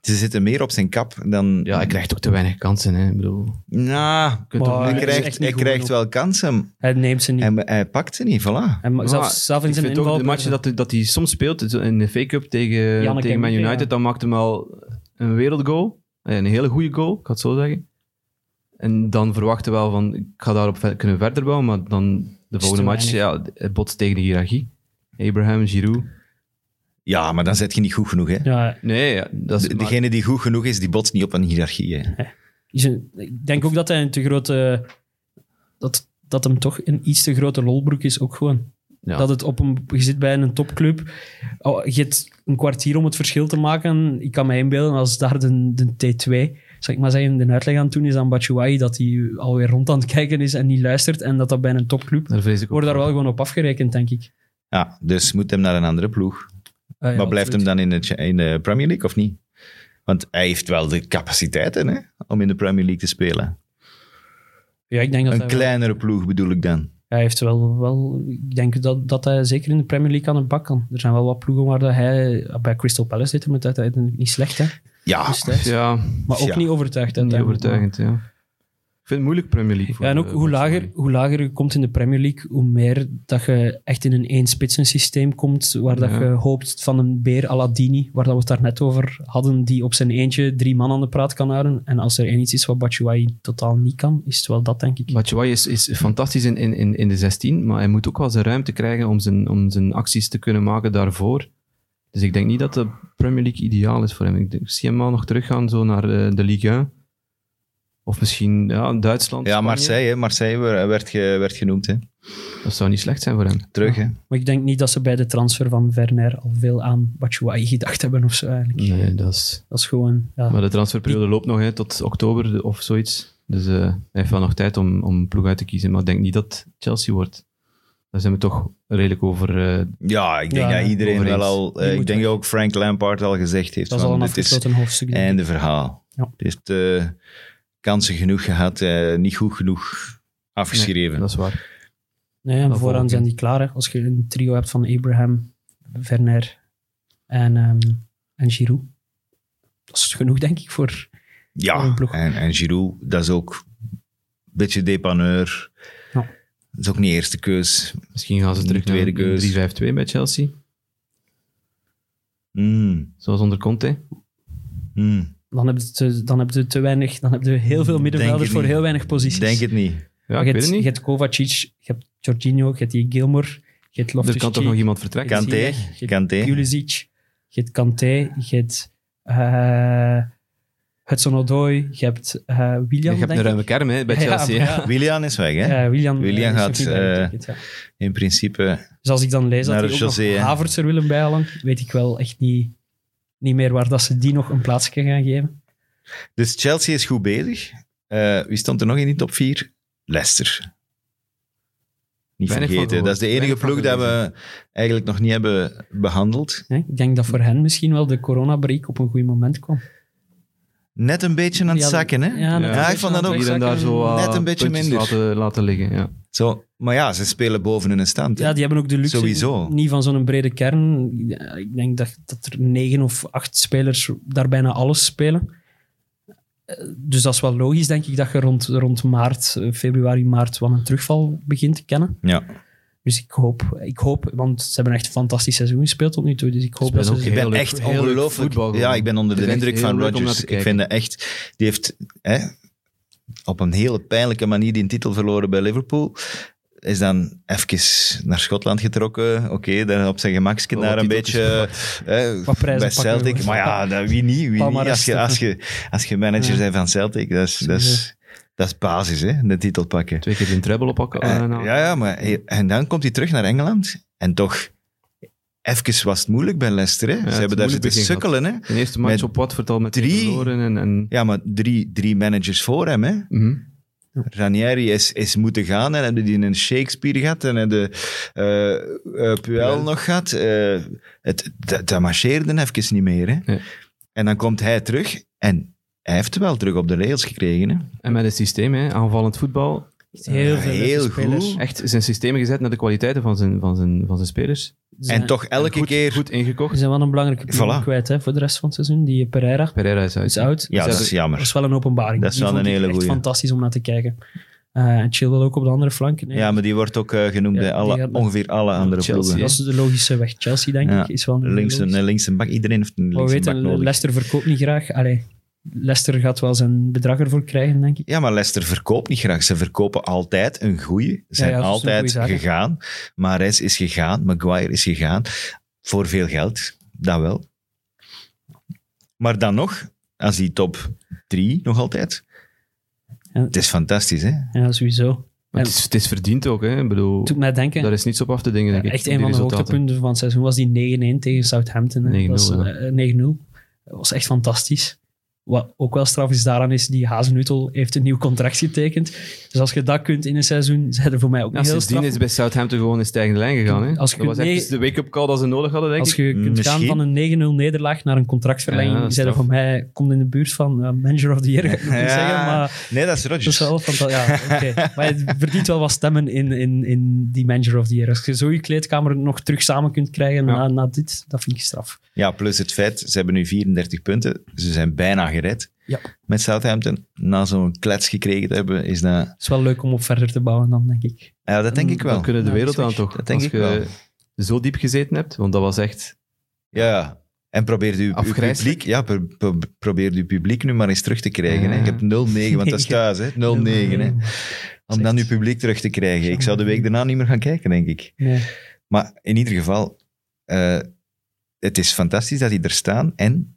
Speaker 3: Ze zitten meer op zijn kap dan...
Speaker 5: Ja, hij krijgt ook te weinig kansen, hè. Ik bedoel, je
Speaker 3: Nou,
Speaker 5: kunt
Speaker 4: Maar
Speaker 5: toch
Speaker 4: hij
Speaker 3: hij
Speaker 4: Ah, is
Speaker 3: krijgt,
Speaker 4: echt niet
Speaker 3: hij
Speaker 4: goed
Speaker 3: krijgt
Speaker 4: genoeg.
Speaker 3: wel kansen.
Speaker 4: Hij neemt ze niet.
Speaker 3: Hij, hij pakt ze niet, voilà.
Speaker 4: Hij ma-
Speaker 5: Maar
Speaker 4: zelfs, zelf in
Speaker 5: Ik
Speaker 4: zijn
Speaker 5: vind ook
Speaker 4: inval...
Speaker 5: de matchen dat, hij- dat hij soms speelt, zo in de V-Cup tegen,
Speaker 4: Janneke
Speaker 5: tegen Man
Speaker 4: Henke,
Speaker 5: United,
Speaker 4: ja.
Speaker 5: dan maakt hem al een wereldgoal. Eh, Een hele goede goal, ik ga het zo zeggen. En dan verwachten we wel van, ik ga daarop ver- kunnen verder bouwen, maar dan de volgende
Speaker 4: te
Speaker 5: match, ja, het botst tegen de hiërarchie. Abraham, Giroud.
Speaker 3: Ja, maar dan zit je niet goed genoeg, hè.
Speaker 4: Ja,
Speaker 5: Nee, ja, dat is...
Speaker 3: De- degene die goed genoeg is, die botst niet op een hiërarchie. Hè.
Speaker 4: is een- ik denk ook dat hij een te grote... Dat, dat hem toch een iets te grote lolbroek is, ook gewoon.
Speaker 5: ja.
Speaker 4: Dat het op een, je zit bij een topclub, oh, je hebt een kwartier om het verschil te maken. Ik kan me inbeelden als daar de, de T2, zal ik maar zeggen, de uitleg aan het doen is aan Batshuayi, dat hij alweer rond aan het kijken is en niet luistert. En dat dat bij een topclub,
Speaker 5: daar vrees ik ook
Speaker 4: wordt daar
Speaker 5: voor.
Speaker 4: wel gewoon op afgerekend, denk ik.
Speaker 3: Ja, dus moet hem naar een andere ploeg.
Speaker 4: Ah ja,
Speaker 3: maar blijft hem
Speaker 4: absoluut.
Speaker 3: dan in de, Cha- in de Premier League of niet? Want hij heeft wel de capaciteiten hè, om in de Premier League te spelen.
Speaker 4: Ja, ik denk dat
Speaker 3: Een
Speaker 4: hij, wel-
Speaker 3: kleinere ploeg bedoel ik dan.
Speaker 4: hij heeft wel, wel... Ik denk dat, dat hij zeker in de Premier League aan de bak kan. Er zijn wel wat ploegen waar dat hij... Bij Crystal Palace deed hem het uiteindelijk niet slecht, hè.
Speaker 3: Ja,
Speaker 4: Dus thuis.
Speaker 5: Ja,
Speaker 4: Maar ook
Speaker 3: Ja.
Speaker 4: niet overtuigd.
Speaker 5: niet
Speaker 4: uiteindelijk.
Speaker 5: overtuigend, ja. Ik vind het moeilijk, Premier League. voor,
Speaker 4: Ja, en ook
Speaker 5: eh,
Speaker 4: hoe
Speaker 5: Barcelona.
Speaker 4: lager, hoe lager je komt in de Premier League, hoe meer dat je echt in een één-spitsen-systeem komt, waar dat
Speaker 5: Ja.
Speaker 4: je hoopt van een beer Aladini, waar dat we het daarnet over hadden, die op zijn eentje drie man aan de praat kan houden. En als er één iets is wat Batshuayi totaal niet kan, is het wel dat, denk ik.
Speaker 5: Batshuayi is, is fantastisch in, in, in, in de 16, maar hij moet ook wel zijn ruimte krijgen om zijn, om zijn acties te kunnen maken daarvoor. Dus ik denk niet dat de Premier League ideaal is voor hem. Ik, denk- ik zie hem wel nog teruggaan zo naar eh, de Ligue 1. Of misschien ja, Duitsland.
Speaker 3: ja
Speaker 5: Spanje.
Speaker 3: Marseille, hè, Marseille wer- werd, ge- werd genoemd. Hè.
Speaker 5: Dat zou niet slecht zijn voor hem.
Speaker 3: Terug, hè.
Speaker 4: Maar ik denk niet dat ze bij de transfer van Werner al veel aan Batshuayi gedacht hebben of zo, eigenlijk.
Speaker 5: Nee, dat is...
Speaker 4: Dat is gewoon... Ja.
Speaker 5: Maar de transferperiode loopt nog hè, tot oktober of zoiets. Dus eh, hij heeft wel nog tijd om, om een ploeg uit te kiezen. Maar ik denk niet dat Chelsea wordt. Daar zijn we toch redelijk over. eh,
Speaker 3: Ja, ik denk
Speaker 4: Ja,
Speaker 3: dat iedereen
Speaker 5: over
Speaker 3: wel
Speaker 5: eens.
Speaker 3: al... eh,
Speaker 4: Die
Speaker 3: ik
Speaker 4: moet
Speaker 3: denk
Speaker 4: weg.
Speaker 3: dat ook Frank Lampard al gezegd heeft
Speaker 4: dat is al
Speaker 3: van
Speaker 4: een
Speaker 3: dit is
Speaker 4: afgesloten hoofdstuk. denk ik.
Speaker 3: einde verhaal.
Speaker 4: Ja.
Speaker 3: Het heeft eh, kansen genoeg gehad, eh, niet goed genoeg afgeschreven.
Speaker 5: dat is waar.
Speaker 4: Nee, en
Speaker 5: Dat
Speaker 4: vooraan
Speaker 5: volgende.
Speaker 4: zijn die klaar. Hè. Als je een trio hebt van Abraham, Werner en, ehm, en Giroud. Dat is genoeg, denk ik, voor... voor
Speaker 3: Ja,
Speaker 4: een ploeg.
Speaker 3: en, en Giroud, dat is ook een beetje depaneur.
Speaker 4: Ja.
Speaker 3: Dat is ook niet eerste keus.
Speaker 5: Misschien gaan ze terug naar
Speaker 3: Tweede keus.
Speaker 5: een 3-5-2 bij Chelsea.
Speaker 3: Mm,
Speaker 5: Zoals onder Conte.
Speaker 3: mm.
Speaker 4: Dan heb je te, dan heb je te weinig... Dan heb je heel veel middenvelders
Speaker 3: het
Speaker 4: voor
Speaker 3: niet.
Speaker 4: heel weinig posities.
Speaker 3: Ik denk het niet.
Speaker 5: Ja,
Speaker 4: Maar
Speaker 5: ik
Speaker 4: je
Speaker 5: weet het
Speaker 4: hebt-
Speaker 5: niet.
Speaker 4: Je hebt Kovacic, je hebt Jorginho, je hebt die Gilmore, je hebt
Speaker 5: er
Speaker 4: Loftus-Cheek.
Speaker 5: kan toch nog iemand
Speaker 4: je
Speaker 5: vertrekken?
Speaker 4: hebt
Speaker 3: Kanté,
Speaker 4: Ziyech, je hebt
Speaker 3: Kanté.
Speaker 4: Pulisic, je hebt Kanté, je hebt... eh Hudson-Odoi, je hebt eh William,
Speaker 5: je hebt
Speaker 4: denk
Speaker 5: een
Speaker 4: ik.
Speaker 5: ruime kerm hè, bij
Speaker 4: Ja,
Speaker 5: Chelsea.
Speaker 4: ja.
Speaker 5: ja.
Speaker 3: Willian is weg, hè?
Speaker 4: Ja, William,
Speaker 3: William
Speaker 4: is
Speaker 3: gaat,
Speaker 4: nog niet bij
Speaker 3: eh,
Speaker 4: getekend, ja.
Speaker 3: In principe.
Speaker 4: Dus als ik dan lees dat
Speaker 3: Naar
Speaker 4: die ook
Speaker 3: José,
Speaker 4: nog
Speaker 3: hè.
Speaker 4: Havertz er willen bijhalen, weet ik wel echt niet, niet meer waar dat ze die nog een plaatsje gaan geven.
Speaker 3: Dus Chelsea is goed bezig. Eh, wie stond er nog in die top 4? Leicester. Niet
Speaker 5: Weinig van
Speaker 3: vergeten.
Speaker 5: gehoord.
Speaker 3: Dat is de enige
Speaker 5: Weinig van
Speaker 3: ploeg dat we eigenlijk nog niet hebben behandeld.
Speaker 4: Hè, Ik denk dat voor hen misschien wel de coronabreak op een goed moment kwam.
Speaker 3: Net een beetje aan het
Speaker 4: Ja, dat-
Speaker 3: zakken, hè?
Speaker 4: ja,
Speaker 5: dat-
Speaker 3: ik vond dat ook.
Speaker 5: Hier en daar zo wat
Speaker 3: Net een beetje
Speaker 5: puntjes
Speaker 3: minder.
Speaker 5: Laten, laten liggen. Ja.
Speaker 3: Zo, Maar ja, ze spelen boven in een stand. hè.
Speaker 4: Ja, die hebben ook de luxe
Speaker 3: Sowieso.
Speaker 4: niet van zo'n brede kern. Ja, Ik denk dat, dat er negen of acht spelers daar bijna alles spelen. Eh, Dus dat is wel logisch, denk ik, dat je rond, rond maart, eh, februari, maart wat een terugval begint te kennen.
Speaker 3: Ja.
Speaker 4: Dus ik hoop, ik hoop, want ze hebben echt een fantastisch seizoen gespeeld tot nu toe. Dus ik hoop
Speaker 5: spelen
Speaker 4: dat ze...
Speaker 5: ook
Speaker 3: Ik ben
Speaker 5: Heel leuk-
Speaker 3: echt
Speaker 5: heel leuk voetbal
Speaker 3: ongelooflijk.
Speaker 5: gewoon.
Speaker 3: Ja, ik ben onder
Speaker 5: Het
Speaker 3: de
Speaker 5: is echt
Speaker 3: indruk
Speaker 5: heel
Speaker 3: van
Speaker 5: leuk om naar
Speaker 3: Rodgers.
Speaker 5: te
Speaker 3: Ik
Speaker 5: kijken.
Speaker 3: vind dat echt... Die heeft hè, op een hele pijnlijke manier die titel verloren bij Liverpool. Is dan even naar Schotland getrokken. Oké, daar op zijn gemakje
Speaker 5: Wel
Speaker 3: daar
Speaker 5: wat
Speaker 3: een
Speaker 5: titeltjes
Speaker 3: beetje... hè,
Speaker 4: Wat prijzen
Speaker 3: bij
Speaker 4: pakken,
Speaker 3: Celtic.
Speaker 4: jongens.
Speaker 3: Maar ja, dat, wie niet? Wie niet?
Speaker 4: Palmares
Speaker 3: Als, je,
Speaker 4: toch,
Speaker 3: als, je, als je manager
Speaker 4: Ja.
Speaker 3: bent van Celtic, dat is, dat is, dat is basis, hè? de titel pakken.
Speaker 5: Twee keer een treble oppakken.
Speaker 3: Eh,
Speaker 5: eh, nou.
Speaker 3: ja, ja, maar he- en dan komt hij terug naar Engeland. En toch, even was het moeilijk bij Leicester. Hè?
Speaker 5: het
Speaker 3: Ze hebben daar
Speaker 5: moeilijk
Speaker 3: zitten
Speaker 5: begin
Speaker 3: sukkelen. Hè?
Speaker 5: De eerste match
Speaker 3: Met
Speaker 5: op Watford al met
Speaker 3: drie-
Speaker 5: verloren en... en
Speaker 3: Ja, maar drie, drie managers voor hem. Hè?
Speaker 5: Mhm.
Speaker 3: Ranieri is, is moeten gaan. En hebben die een Shakespeare gehad. En hebben eh eh, Puel
Speaker 5: Puel.
Speaker 3: nog gehad. Eh, het, dat, dat marcheerde even niet meer. Hè?
Speaker 5: Nee.
Speaker 3: En dan komt hij terug. En hij heeft wel terug op de rails gekregen. Hè?
Speaker 5: En met het systeem, hè, aanvallend voetbal.
Speaker 4: Echt heel
Speaker 3: Eh,
Speaker 4: veel
Speaker 3: heel
Speaker 4: leuke spelers.
Speaker 3: goed.
Speaker 5: Echt zijn systemen gezet naar de kwaliteiten van zijn, van zijn, van zijn spelers.
Speaker 4: Ze
Speaker 3: en
Speaker 4: zijn-
Speaker 3: toch elke
Speaker 5: En goed,
Speaker 3: keer...
Speaker 5: Goed
Speaker 4: Ze
Speaker 5: ingekocht.
Speaker 4: zijn wel een belangrijke pion
Speaker 3: Voilà.
Speaker 4: kwijt hè, voor de rest van het seizoen. Die Pereira
Speaker 5: Pereira is uit.
Speaker 4: is oud.
Speaker 3: ja, dat is
Speaker 5: hebben-
Speaker 4: Dat
Speaker 3: jammer.
Speaker 4: is wel een openbaring.
Speaker 3: Dat is
Speaker 4: Die
Speaker 3: wel
Speaker 4: vond
Speaker 3: een
Speaker 4: ik
Speaker 3: hele
Speaker 4: echt
Speaker 3: goeie.
Speaker 4: fantastisch om naar te kijken. Eh, en Chilwell ook op de andere flank. Nee,
Speaker 3: Ja, maar die wordt ook eh, genoemd
Speaker 4: Ja,
Speaker 3: bij alle,
Speaker 4: die gaat-
Speaker 3: ongeveer alle andere
Speaker 5: Chelsea,
Speaker 3: ploegen.
Speaker 4: Dat is de logische weg. Chelsea, denk
Speaker 3: Ja,
Speaker 4: ik, is wel een
Speaker 3: Links
Speaker 4: logische.
Speaker 3: een, eh, links een bak. Iedereen heeft een
Speaker 4: Maar we
Speaker 3: links een bak
Speaker 4: weten,
Speaker 3: nodig.
Speaker 4: Leicester verkoopt niet graag. Allee, Leicester gaat wel zijn bedrag ervoor krijgen, denk ik.
Speaker 3: ja, maar Leicester verkoopt niet graag. Ze verkopen altijd een goeie. Ze zijn
Speaker 4: ja, dat is een
Speaker 3: altijd
Speaker 4: goeie zaak, hè.
Speaker 3: gegaan. Mares is gegaan. Maguire is gegaan. Voor veel geld. Dat wel. Maar dan nog, als die top drie nog altijd.
Speaker 4: Ja.
Speaker 3: Het is fantastisch, hè?
Speaker 4: Ja, sowieso.
Speaker 5: Maar het, is, het is verdiend ook, hè. Ik bedoel,
Speaker 4: Toen mij denken,
Speaker 5: daar is niets op af te dingen, denk ik.
Speaker 4: echt
Speaker 5: die
Speaker 4: een van de
Speaker 5: resultaten.
Speaker 4: hoogtepunten van het seizoen was die 9-1 tegen Southampton. hè. Dat is,
Speaker 5: 9-0, ja.
Speaker 4: eh, 9-0. Dat was echt fantastisch. Wat ook wel straf is daaraan, is die Hazenutel heeft een nieuw contract getekend. Dus als je dat kunt in een seizoen, zijn er voor mij ook
Speaker 5: Ja,
Speaker 4: niet heel
Speaker 5: sindsdien
Speaker 4: straf.
Speaker 5: is bij Southampton gewoon een stijgende lijn gegaan. Hè?
Speaker 4: Als je
Speaker 5: dat was
Speaker 4: kunt-
Speaker 5: echt
Speaker 4: nee.
Speaker 5: de wake-up call dat ze nodig hadden, denk
Speaker 4: Als
Speaker 5: ik.
Speaker 4: je kunt
Speaker 3: Misschien.
Speaker 4: gaan van een 9-0 nederlaag naar een contractverlenging,
Speaker 5: Ja, dat
Speaker 4: ja,
Speaker 5: is
Speaker 4: zeiden
Speaker 5: straf.
Speaker 4: voor mij, komt in de buurt van eh, manager of the year, ga ik nog niet
Speaker 3: Ja.
Speaker 4: zeggen, maar
Speaker 3: Nee, dat is
Speaker 4: dat is
Speaker 3: Rodgers.
Speaker 4: wel fantastisch. Ja, oké. maar je verdient wel wat stemmen in, in, in die manager of the year. Als je zo je kleedkamer nog terug samen kunt krijgen
Speaker 5: Ja.
Speaker 4: na, na dit, dat vind ik straf.
Speaker 3: Ja, plus het feit, ze hebben nu 34 punten. Ze zijn bijna gered
Speaker 4: Ja.
Speaker 3: met Southampton. Na zo'n klets gekregen te hebben, is dat...
Speaker 4: Het is wel leuk om op verder te bouwen dan, denk ik.
Speaker 3: Ja, dat denk ik wel.
Speaker 5: Dan kunnen de
Speaker 4: Ja,
Speaker 5: wereld
Speaker 4: Mm, dat is
Speaker 5: aan,
Speaker 4: weg.
Speaker 5: toch?
Speaker 3: Dat denk
Speaker 5: Als
Speaker 3: ik
Speaker 5: je
Speaker 3: wel.
Speaker 5: zo diep gezeten hebt, want dat was echt...
Speaker 3: Ja, en probeer uw, uw
Speaker 5: Afgrijselijk.
Speaker 3: publiek, ja, pro- pro- probeer uw publiek nu maar eens terug te krijgen. Hè. Je
Speaker 5: Ja.
Speaker 3: hebt 0-9, want dat is thuis, hè. 0-9. Hè. Om dan uw publiek terug te krijgen. Ik zou de week daarna niet meer gaan kijken, denk ik.
Speaker 4: Nee.
Speaker 3: Maar in ieder geval, eh, het is fantastisch dat die er staan. En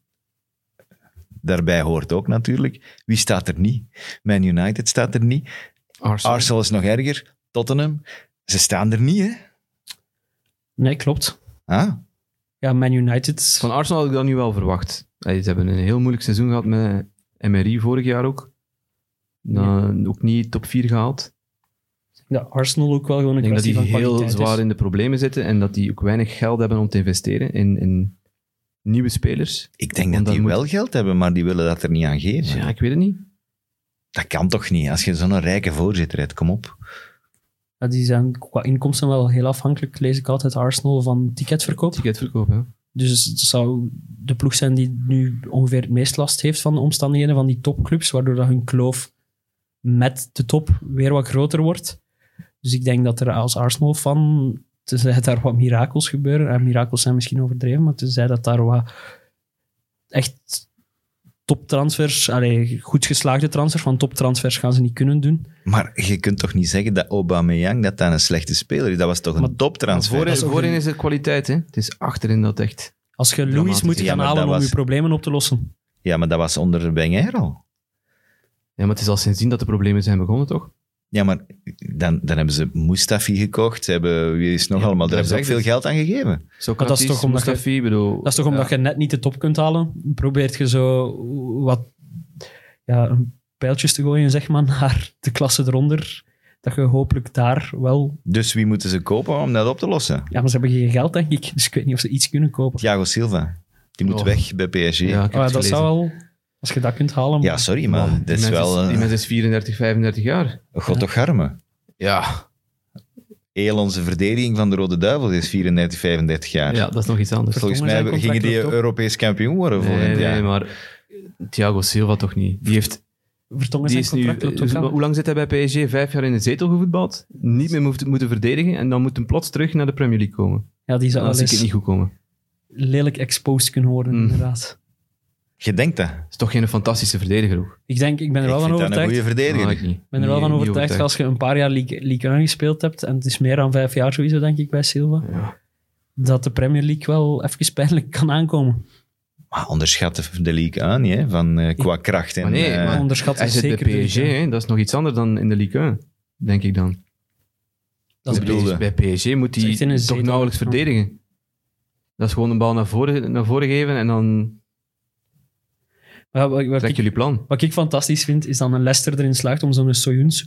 Speaker 3: daarbij hoort ook natuurlijk, wie staat er niet? Man United staat er niet.
Speaker 5: Arsenal.
Speaker 3: Arsenal is nog erger. Tottenham, ze staan er niet, hè.
Speaker 4: nee, klopt.
Speaker 3: Ah,
Speaker 4: Ja, Man United.
Speaker 5: Van Arsenal had ik dat nu wel verwacht. Hey, ze hebben een heel moeilijk seizoen gehad met MRI vorig jaar ook. Nou, Ook niet top 4 gehaald.
Speaker 4: ja, Arsenal ook wel gewoon
Speaker 5: Ik
Speaker 4: een
Speaker 5: denk dat
Speaker 4: kwestie
Speaker 5: die
Speaker 4: van kwaliteit dus.
Speaker 5: heel
Speaker 4: is.
Speaker 5: zwaar in de problemen zitten en dat die ook weinig geld hebben om te investeren in, in nieuwe spelers.
Speaker 3: ik denk dat
Speaker 5: Want dan
Speaker 3: die
Speaker 5: moet-
Speaker 3: wel geld hebben, maar die willen dat er niet aan
Speaker 5: Dus
Speaker 3: geven.
Speaker 5: ja, ik weet het niet.
Speaker 3: Dat kan toch niet, als je zo'n rijke voorzitter hebt, kom op.
Speaker 4: Ja, die zijn qua inkomsten wel heel afhankelijk, lees ik altijd, Arsenal van ticketverkoop.
Speaker 5: Ticketverkoop, hè.
Speaker 4: Dus het zou de ploeg zijn die nu ongeveer het meest last heeft van de omstandigheden van die topclubs, waardoor dat hun kloof met de top weer wat groter wordt. Dus ik denk dat er als Arsenal-fan, tenzij het daar wat mirakels gebeuren, en mirakels zijn misschien overdreven, maar tenzij dat daar wat echt toptransfers, allee, goed geslaagde transfers, want toptransfers gaan ze niet kunnen doen.
Speaker 3: Maar je kunt toch niet zeggen dat Aubameyang dat dan een slechte speler is? Dat was toch een
Speaker 4: Maar-
Speaker 3: toptransfer?
Speaker 5: Voorin,
Speaker 4: ook
Speaker 5: voorin
Speaker 4: een-
Speaker 5: is het kwaliteit, hè. Het is achterin dat echt...
Speaker 4: Als je Louis
Speaker 5: Dramatisch.
Speaker 4: moet
Speaker 3: Ja,
Speaker 4: gaan
Speaker 3: maar
Speaker 4: halen
Speaker 3: dat
Speaker 4: om
Speaker 3: was-
Speaker 4: je problemen op te lossen.
Speaker 3: Ja, maar dat was onder Wenger al.
Speaker 5: Ja, maar het is al sindsdien dat de problemen zijn begonnen, toch?
Speaker 3: Ja, maar dan, dan hebben ze Mustafi gekocht. Ze hebben, wie is het nog
Speaker 5: Ja,
Speaker 3: allemaal? Daar
Speaker 5: dat
Speaker 3: hebben ze ook
Speaker 5: zeg dus.
Speaker 3: veel
Speaker 5: ik.
Speaker 3: geld aan gegeven.
Speaker 5: Socrates,
Speaker 4: dat is toch omdat je-
Speaker 5: Mustafi, ik bedoel...
Speaker 4: Dat is toch omdat
Speaker 5: ja.
Speaker 4: je net niet de top kunt halen? Probeert je zo wat ja, pijltjes te gooien, zeg maar, naar de klasse eronder. Dat je hopelijk daar wel...
Speaker 3: Dus wie moeten ze kopen om dat op te lossen?
Speaker 4: Ja, maar ze hebben geen geld, denk ik. Dus ik weet niet of ze iets kunnen kopen.
Speaker 3: Thiago Silva. Die moet
Speaker 5: Oh.
Speaker 3: weg bij PSG.
Speaker 5: Ja, ik heb
Speaker 3: Ja,
Speaker 4: Oh,
Speaker 5: het
Speaker 4: dat
Speaker 5: gelezen.
Speaker 4: zou wel... Als je dat kunt halen... maar-
Speaker 3: sorry, maar
Speaker 5: Oh, Die
Speaker 3: dat is
Speaker 5: mens
Speaker 3: wel...
Speaker 5: Die
Speaker 3: eh,
Speaker 5: mens is 34, 35 jaar.
Speaker 3: God toch arme.
Speaker 5: Ja.
Speaker 3: heel onze verdediging van de Rode Duivels is 34, 35 jaar.
Speaker 5: Ja, dat is nog iets anders.
Speaker 3: Volgens
Speaker 4: Vertongen
Speaker 3: mij
Speaker 4: zijn
Speaker 3: gingen die
Speaker 4: contract loopt op.
Speaker 3: Europees kampioen worden
Speaker 5: Nee,
Speaker 3: volgend jaar.
Speaker 5: nee, maar Thiago Silva toch niet. Die, heeft,
Speaker 4: Vertongen
Speaker 5: die
Speaker 4: zijn
Speaker 5: is nu...
Speaker 4: contract loopt ook
Speaker 5: hoe-
Speaker 4: af.
Speaker 5: Hoe lang zit hij bij PSG? Vijf jaar in de zetel gevoetbald. Niet meer moeten, moeten verdedigen. En dan moet hij plots terug naar de Premier League komen.
Speaker 4: Ja, die zou
Speaker 5: Dan
Speaker 4: wel
Speaker 5: Ah, zie ik het
Speaker 4: eens
Speaker 5: niet goed komen.
Speaker 4: lelijk exposed kunnen worden,
Speaker 5: Mm.
Speaker 4: inderdaad.
Speaker 3: Je denkt dat.
Speaker 5: is toch geen fantastische verdediger ook.
Speaker 4: Ik denk, ik ben er wel
Speaker 3: ik
Speaker 4: van
Speaker 3: vind dat een
Speaker 4: overtuigd.
Speaker 3: goede verdediger.
Speaker 5: Ah, ik niet.
Speaker 4: Ik ben er wel
Speaker 5: Nee,
Speaker 4: van
Speaker 5: niet
Speaker 4: overtuigd dat als je een paar jaar League, League 1 gespeeld hebt, en het is meer dan vijf jaar sowieso, denk ik, bij Silva,
Speaker 5: Ja.
Speaker 4: dat de Premier League wel even pijnlijk kan aankomen.
Speaker 3: Maar onderschat de league aan, niet, hè, van, eh, qua kracht. En,
Speaker 5: Maar nee,
Speaker 3: eh,
Speaker 5: maar-
Speaker 4: Onderschat
Speaker 5: Hij
Speaker 4: is
Speaker 5: zit bij
Speaker 4: zeker de
Speaker 5: PSG,
Speaker 4: Ligue 1.
Speaker 5: hè? dat is nog iets anders dan in de Ligue 1, denk ik dan.
Speaker 4: Dat is
Speaker 3: Ik bedoel-
Speaker 4: bedoeld.
Speaker 3: bedoelde.
Speaker 5: Bij PSG moet hij
Speaker 4: Zit in een
Speaker 5: toch
Speaker 4: zetel.
Speaker 5: nauwelijks verdedigen. Dat is gewoon een bal naar voren, naar voren geven en dan
Speaker 4: Maar wat, wat
Speaker 5: trek
Speaker 4: ik,
Speaker 5: jullie plan.
Speaker 4: wat ik fantastisch vind, is dat een Leicester erin slaagt om zo'n Soyuncu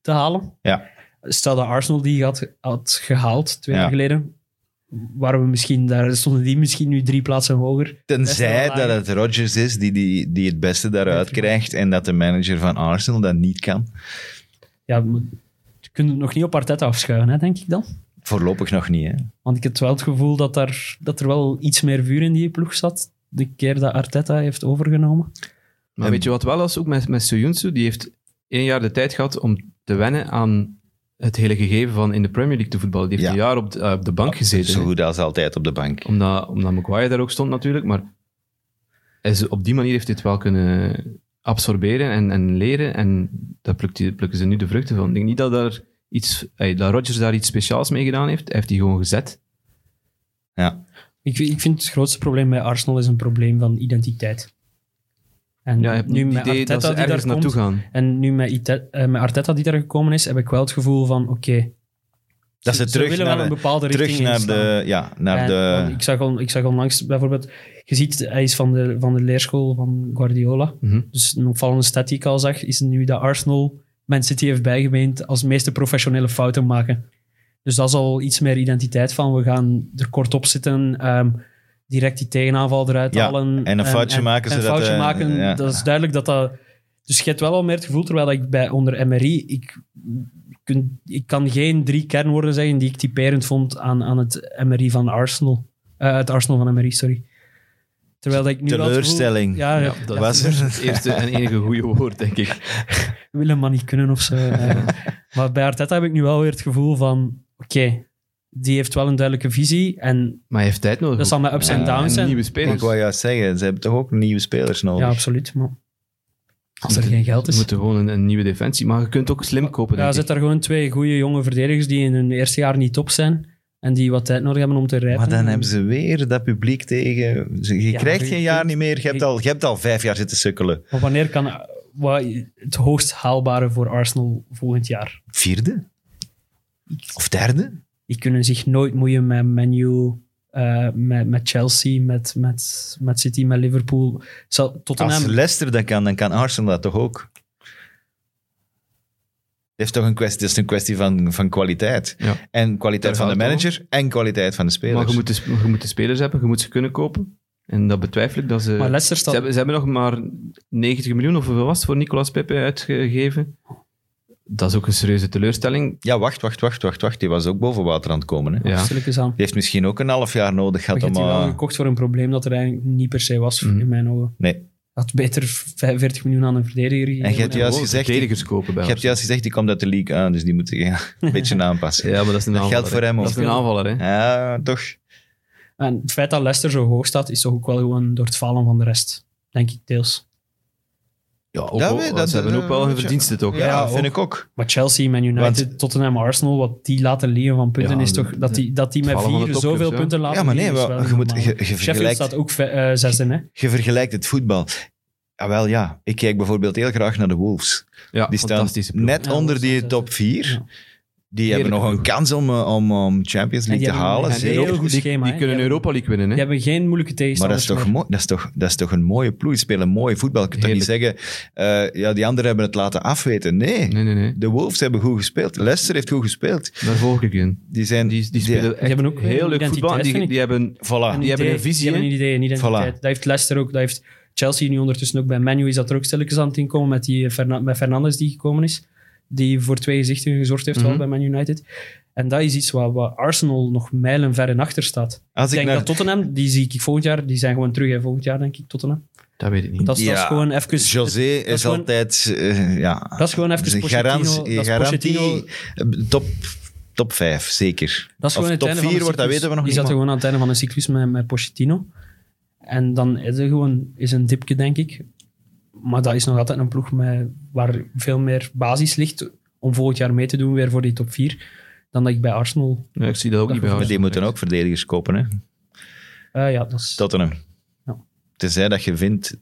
Speaker 4: te halen.
Speaker 3: Ja.
Speaker 4: Stel dat Arsenal die had, had gehaald twee
Speaker 3: Ja.
Speaker 4: jaar geleden, waren we misschien, daar stonden die misschien nu drie plaatsen hoger.
Speaker 3: Tenzij
Speaker 4: Best wel
Speaker 3: dat het Rodgers is die, die, die het beste daaruit
Speaker 4: Beter.
Speaker 3: krijgt en dat de manager van Arsenal dat niet kan.
Speaker 4: Ja, maar je kunt het nog niet op Arteta afschuiven, hè, denk ik dan.
Speaker 3: Voorlopig nog niet, hè.
Speaker 4: Want ik heb wel het gevoel dat, daar, dat er wel iets meer vuur in die ploeg zat. De keer dat Arteta heeft overgenomen.
Speaker 5: Maar
Speaker 3: En-
Speaker 5: weet je wat wel is, ook met, met Soyuncu, die heeft één jaar de tijd gehad om te wennen aan het hele gegeven van in de Premier League te voetballen. Die heeft
Speaker 3: Ja.
Speaker 5: een jaar op de, eh, op de bank gezeten.
Speaker 3: Zo
Speaker 5: hè.
Speaker 3: goed als altijd op de bank.
Speaker 5: Omdat, omdat Maguire daar ook stond natuurlijk, maar hij is- op die manier heeft hij het wel kunnen absorberen en, en leren. En daar plukt hij- plukken ze nu de vruchten van. Ik denk niet dat, daar iets, ey, dat Rodgers daar iets speciaals mee gedaan heeft. Hij heeft die gewoon gezet.
Speaker 4: Ik, ik vind het grootste probleem bij Arsenal is een probleem van identiteit. En
Speaker 5: Ja, hij heeft
Speaker 4: nu
Speaker 5: het
Speaker 4: met
Speaker 5: idee
Speaker 4: Arteta
Speaker 5: dat ze
Speaker 4: die daar
Speaker 5: ergens
Speaker 4: komt,
Speaker 5: naartoe gaan.
Speaker 4: En nu met, Ite- eh, met Arteta die daar gekomen is, heb ik wel het gevoel van, oké,
Speaker 3: Dat ze, terug
Speaker 4: willen
Speaker 3: naar,
Speaker 4: wel een
Speaker 3: de,
Speaker 4: bepaalde
Speaker 3: terug
Speaker 4: richting
Speaker 3: naar
Speaker 4: inslaan.
Speaker 3: de... Ja, naar
Speaker 4: En, want
Speaker 3: de...
Speaker 4: ik, zag on, ik zag onlangs bijvoorbeeld, je ziet, hij is van de, van de leerschool van Guardiola.
Speaker 5: Mhm.
Speaker 4: Dus een opvallende stat die ik al zag, is nu dat Arsenal Man City heeft bijgemeend als meeste professionele fouten maken. Dus dat is al iets meer identiteit van, we gaan er kort op zitten, ehm, direct die tegenaanval eruit
Speaker 3: Ja,
Speaker 4: halen. ehm,
Speaker 3: en een foutje maken,
Speaker 4: en
Speaker 3: zodat,
Speaker 4: foutje
Speaker 3: eh,
Speaker 4: maken,
Speaker 3: ja.
Speaker 4: dat is duidelijk dat dat... Dus je hebt wel al meer het gevoel, terwijl ik bij onder MRI, ik, kun- ik kan geen drie kernwoorden zeggen die ik typerend vond aan, aan het MRI van Arsenal. Eh, het Arsenal van MRI, sorry. Terwijl dat ik nu wel het gevoel-
Speaker 3: Teleurstelling.
Speaker 4: Ja, ja,
Speaker 5: Dat
Speaker 3: Was
Speaker 5: is het
Speaker 3: er?
Speaker 5: eerste en enige goede woord, denk ik.
Speaker 4: willen maar niet kunnen of zo. Eh, maar bij Arteta heb ik nu wel weer het gevoel van, oké, die heeft wel een duidelijke visie en
Speaker 5: Maar hij heeft tijd nodig.
Speaker 4: dat zal met ups
Speaker 3: Ja,
Speaker 4: en downs
Speaker 5: en
Speaker 4: zijn.
Speaker 5: nieuwe
Speaker 3: Ik
Speaker 5: spelers.
Speaker 3: wou juist zeggen, ze hebben toch ook nieuwe spelers nodig.
Speaker 4: Ja, absoluut. Maar als er
Speaker 5: Moeten-
Speaker 4: geen geld
Speaker 5: We
Speaker 4: is.
Speaker 5: moeten gewoon een, een nieuwe defensie. Maar je kunt ook slim kopen,
Speaker 4: Ja,
Speaker 5: denk
Speaker 4: zit
Speaker 5: ik.
Speaker 4: daar gewoon twee goede jonge verdedigers die in hun eerste jaar niet top zijn en die wat tijd nodig hebben om te rijpen.
Speaker 3: Maar dan hebben ze weer dat publiek tegen. Ze- Je
Speaker 4: Ja,
Speaker 3: krijgt
Speaker 4: maar
Speaker 3: geen
Speaker 4: je
Speaker 3: jaar
Speaker 4: kunt-
Speaker 3: niet meer. Je hebt,
Speaker 4: je-
Speaker 3: al, je hebt al vijf jaar zitten sukkelen.
Speaker 4: Maar wanneer kan eh, wat, het hoogst haalbare voor Arsenal volgend jaar?
Speaker 3: Vierde? Of derde?
Speaker 4: Die kunnen zich nooit moeien met Menu, met, met Chelsea, met, met, met City, met Liverpool. Zal- Tottenham,
Speaker 3: Als Leicester dat kan, dan kan Arsenal dat toch ook? Het is toch een kwestie, het is een kwestie van, van kwaliteit.
Speaker 5: Ja.
Speaker 3: En kwaliteit
Speaker 5: Daar
Speaker 3: van de
Speaker 5: gaat het
Speaker 3: manager en kwaliteit van de spelers.
Speaker 5: Maar je moet, de, sp- je moet de spelers hebben, je moet ze kunnen kopen. En dat betwijfel ik. Dat ze,
Speaker 4: maar Leicester
Speaker 5: Eh, ze,
Speaker 4: staat
Speaker 5: hebben, ze hebben nog maar 90 miljoen of hoeveel was het voor Nicolas Pepe uitgegeven. Dat is ook een serieuze teleurstelling.
Speaker 3: Ja, wacht, wacht, wacht, wacht, wacht. Die was ook boven water aan het komen. Hè?
Speaker 5: Ja.
Speaker 4: stil ik eens aan.
Speaker 3: Die heeft misschien ook een half jaar nodig
Speaker 4: Maar
Speaker 3: gehad
Speaker 4: je hebt
Speaker 3: om.
Speaker 4: die wel
Speaker 3: eh,
Speaker 4: gekocht voor een probleem dat er eigenlijk niet per se was,
Speaker 5: Mhm.
Speaker 4: in mijn ogen.
Speaker 3: Nee.
Speaker 4: Had beter 45 miljoen aan een verdediger gegeven.
Speaker 3: En je hebt
Speaker 5: Gewoon
Speaker 3: juist gezegd. die-
Speaker 5: verdedigers kopen bij
Speaker 3: Je hebt
Speaker 5: ons.
Speaker 3: juist gezegd, die komt uit de league aan, dus die moet je een beetje aanpassen.
Speaker 5: Ja, maar dat is een
Speaker 3: Dat
Speaker 5: aanvaller.
Speaker 3: geldt voor
Speaker 5: hè.
Speaker 3: hem ook.
Speaker 5: Dat is een aanvaller, hè.
Speaker 3: Ja, toch.
Speaker 4: En het feit dat Leicester zo hoog staat, is toch ook wel gewoon door het falen van de rest. Denk ik deels.
Speaker 5: Ja, ook,
Speaker 3: Ja,
Speaker 5: wel-
Speaker 3: weet- dat-
Speaker 5: ze hebben
Speaker 3: dat-
Speaker 5: ook wel hun
Speaker 3: weet je-
Speaker 5: verdiensten, toch?
Speaker 3: Ja,
Speaker 4: Ja,
Speaker 3: vind
Speaker 4: ook.
Speaker 3: ik ook.
Speaker 4: Maar Chelsea, Man United,
Speaker 3: Want-
Speaker 4: Tottenham, Arsenal, wat die laten liggen van punten
Speaker 5: Ja,
Speaker 4: is toch...
Speaker 5: de-
Speaker 4: Dat die, dat die
Speaker 5: het
Speaker 4: met
Speaker 5: vallen van
Speaker 4: vier
Speaker 5: de topclubs,
Speaker 4: zoveel
Speaker 5: ja.
Speaker 4: punten laten
Speaker 3: Ja, maar nee,
Speaker 4: liggen is
Speaker 3: wel-
Speaker 4: wel
Speaker 3: je, moet,
Speaker 4: normaal.
Speaker 3: je, je
Speaker 4: Sheffield
Speaker 3: vergelijkt,
Speaker 4: staat ook ve- eh, zesde, hè.
Speaker 3: je vergelijkt het voetbal. Ah, wel ja, ik kijk bijvoorbeeld heel graag naar de Wolves.
Speaker 5: Ja,
Speaker 3: Die staan
Speaker 5: fantastische ploeg.
Speaker 3: net
Speaker 4: Ja,
Speaker 3: onder
Speaker 4: Wolves
Speaker 3: die
Speaker 4: zijn
Speaker 3: top 4.
Speaker 4: Ja.
Speaker 3: Die hebben nog een
Speaker 5: ploeg.
Speaker 3: kans om, eh, om, om Champions
Speaker 4: En
Speaker 3: League
Speaker 4: die
Speaker 3: te
Speaker 4: hebben
Speaker 3: halen.
Speaker 5: En
Speaker 4: een
Speaker 5: die
Speaker 3: zeker.
Speaker 4: heel
Speaker 5: Europa-
Speaker 4: goed
Speaker 5: die-
Speaker 4: schema,
Speaker 5: Die,
Speaker 4: hè.
Speaker 5: kunnen
Speaker 4: Die hebben-
Speaker 5: Europa League winnen, hè.
Speaker 4: Die hebben geen moeilijke
Speaker 3: Maar dat
Speaker 4: tegenstanders
Speaker 3: is, toch
Speaker 4: meer.
Speaker 3: mooi, dat, is toch, dat is toch een mooie ploeg. Die spelen mooi voetbal. Je kunt toch niet zeggen, eh, ja, die anderen hebben het laten afweten. Nee,
Speaker 5: Nee, nee, nee.
Speaker 3: de Wolves hebben goed gespeeld. Leicester heeft goed gespeeld.
Speaker 5: Daar volg ik in.
Speaker 3: Die zijn...
Speaker 5: Die, die spelen echt
Speaker 4: hebben ook
Speaker 5: heel leuk
Speaker 4: identiteit,
Speaker 5: voetbal.
Speaker 4: vind
Speaker 5: Die,
Speaker 4: ik.
Speaker 5: die hebben...
Speaker 3: Voilà.
Speaker 4: Een
Speaker 5: Die hebben
Speaker 4: idee,
Speaker 5: een visie,
Speaker 4: Die hebben een idee, een identiteit.
Speaker 3: Voilà.
Speaker 4: Dat heeft Leicester ook, dat heeft eh, Chelsea nu ondertussen ook. Bij Menu is dat er ook stilletjes aan het inkomen met, die Ferna- met Fernandes die gekomen is. die voor twee gezichten gezorgd heeft
Speaker 5: Mhm.
Speaker 4: al bij Man United. En dat is iets waar, waar Arsenal nog mijlen ver in achter staat.
Speaker 3: Als
Speaker 4: Ik denk dat Tottenham, die zie ik volgend jaar, die zijn gewoon terug hè, volgend jaar, denk ik, Tottenham.
Speaker 5: Dat weet ik niet.
Speaker 4: Dat is, dat is
Speaker 3: Ja.
Speaker 4: gewoon even...
Speaker 3: Dus José is,
Speaker 4: gewoon-
Speaker 3: altijd... eh, ja,
Speaker 4: Dat is gewoon even
Speaker 3: Een
Speaker 4: Pochettino.
Speaker 3: garant-
Speaker 4: dat is
Speaker 3: garantie,
Speaker 4: Pochettino.
Speaker 3: eh, top, top 5, zeker.
Speaker 4: Dat is
Speaker 3: Of
Speaker 4: gewoon het
Speaker 3: top
Speaker 4: einde van
Speaker 3: vier
Speaker 4: een
Speaker 3: wordt, dat
Speaker 4: cyclus.
Speaker 3: weten we nog
Speaker 4: Die
Speaker 3: niet,
Speaker 4: zaten
Speaker 3: maar-
Speaker 4: gewoon aan het einde van een cyclus met, met Pochettino. En dan is er gewoon is een dipje, denk ik. Maar dat is nog altijd een ploeg met, waar veel meer basis ligt om volgend jaar mee te doen weer voor die top 4 dan dat ik bij Arsenal...
Speaker 5: Ja, ik zie dat ook niet bij
Speaker 3: Maar die
Speaker 5: Arsenal.
Speaker 3: moeten ook verdedigers kopen, hè.
Speaker 4: eh, ja, dat is...
Speaker 3: Tottenham.
Speaker 4: Ja.
Speaker 3: Tenzij dat je vindt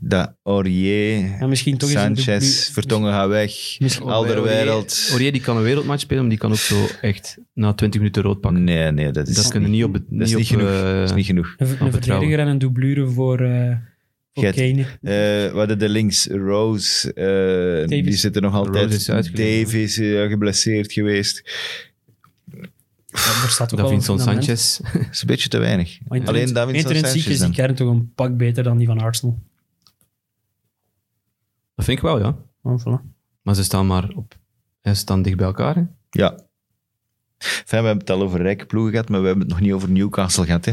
Speaker 3: dat Aurier,
Speaker 4: ja, misschien toch eens een
Speaker 3: Sanchez,
Speaker 4: dublu-
Speaker 3: Vertongen gaat weg,
Speaker 4: Misschien-
Speaker 3: Alderwereld...
Speaker 5: Aurier die kan een wereldmatch spelen, maar die kan ook zo echt na 20 minuten rood pakken.
Speaker 3: Nee, nee, dat is
Speaker 5: dat kunnen we niet op... be-
Speaker 3: dat is
Speaker 5: niet
Speaker 3: niet
Speaker 5: op,
Speaker 3: genoeg.
Speaker 5: eh,
Speaker 3: Dat is niet genoeg.
Speaker 4: Een, een
Speaker 5: Aan vertrouwen.
Speaker 4: verdediger en een dublure voor, eh voor
Speaker 3: Gert.
Speaker 4: Kane.
Speaker 3: Eh, we hadden de links, Rose, eh, die
Speaker 4: Davies.
Speaker 3: zitten nog altijd.
Speaker 5: Rose is uitgeleend,
Speaker 3: Davies, eh, geblesseerd geweest.
Speaker 4: Ja, er staat ook wel een
Speaker 5: Davinson
Speaker 4: fundament.
Speaker 5: Sanchez.
Speaker 3: Dat is een beetje te weinig.
Speaker 4: Maar
Speaker 3: Alleen
Speaker 4: intrin-
Speaker 3: Davinson
Speaker 4: Intrinsiek
Speaker 3: Sanchez
Speaker 4: is die
Speaker 3: dan.
Speaker 4: kern toch een pak beter dan die van Arsenal.
Speaker 5: Dat vind ik wel, ja.
Speaker 4: Oh, voilà.
Speaker 5: Maar ze staan maar op... Ze staan dicht bij elkaar, hè.
Speaker 3: Ja. Enfin, we hebben het al over rijke ploegen gehad, maar we hebben het nog niet over Newcastle gehad. Hè.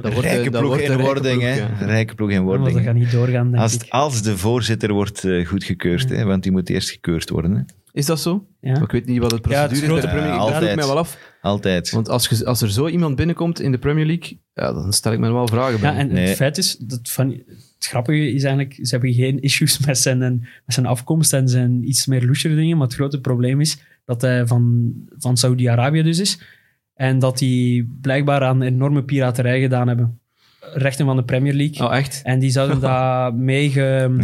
Speaker 5: Dat wordt, eh,
Speaker 3: rijke
Speaker 5: dat
Speaker 3: ploeg
Speaker 5: wordt
Speaker 3: in
Speaker 5: een rijke
Speaker 3: wording,
Speaker 5: ploeg,
Speaker 3: hè.
Speaker 5: ja.
Speaker 3: Rijke ploeg in
Speaker 4: Maar
Speaker 3: wording.
Speaker 4: dat
Speaker 3: hè.
Speaker 4: gaat niet doorgaan, denk
Speaker 3: als,
Speaker 4: ik.
Speaker 3: het- als de voorzitter wordt eh, goedgekeurd, hè, want die moet eerst gekeurd worden. Hè.
Speaker 5: Is dat zo?
Speaker 4: Ja.
Speaker 5: Ik weet niet wat het
Speaker 4: Ja, het
Speaker 5: procedure is. bij
Speaker 4: grote
Speaker 5: de Premier
Speaker 3: probleem-
Speaker 5: League. Daar doe ik
Speaker 3: altijd.
Speaker 5: mij wel af.
Speaker 3: Altijd.
Speaker 5: Want als, je- als er zo iemand binnenkomt in de Premier League, ja, dan stel ik me wel vragen bij.
Speaker 4: Ja, en
Speaker 3: Nee.
Speaker 4: het feit is, dat van, het grappige is eigenlijk, ze hebben geen issues met zijn, met zijn afkomst en zijn iets meer loesere dingen, maar het grote probleem is dat hij van, van Saudi-Arabië dus is en dat die blijkbaar aan enorme piraterij gedaan hebben. Rechten van de Premier League.
Speaker 5: Oh, echt?
Speaker 4: En die zouden daar mee ge-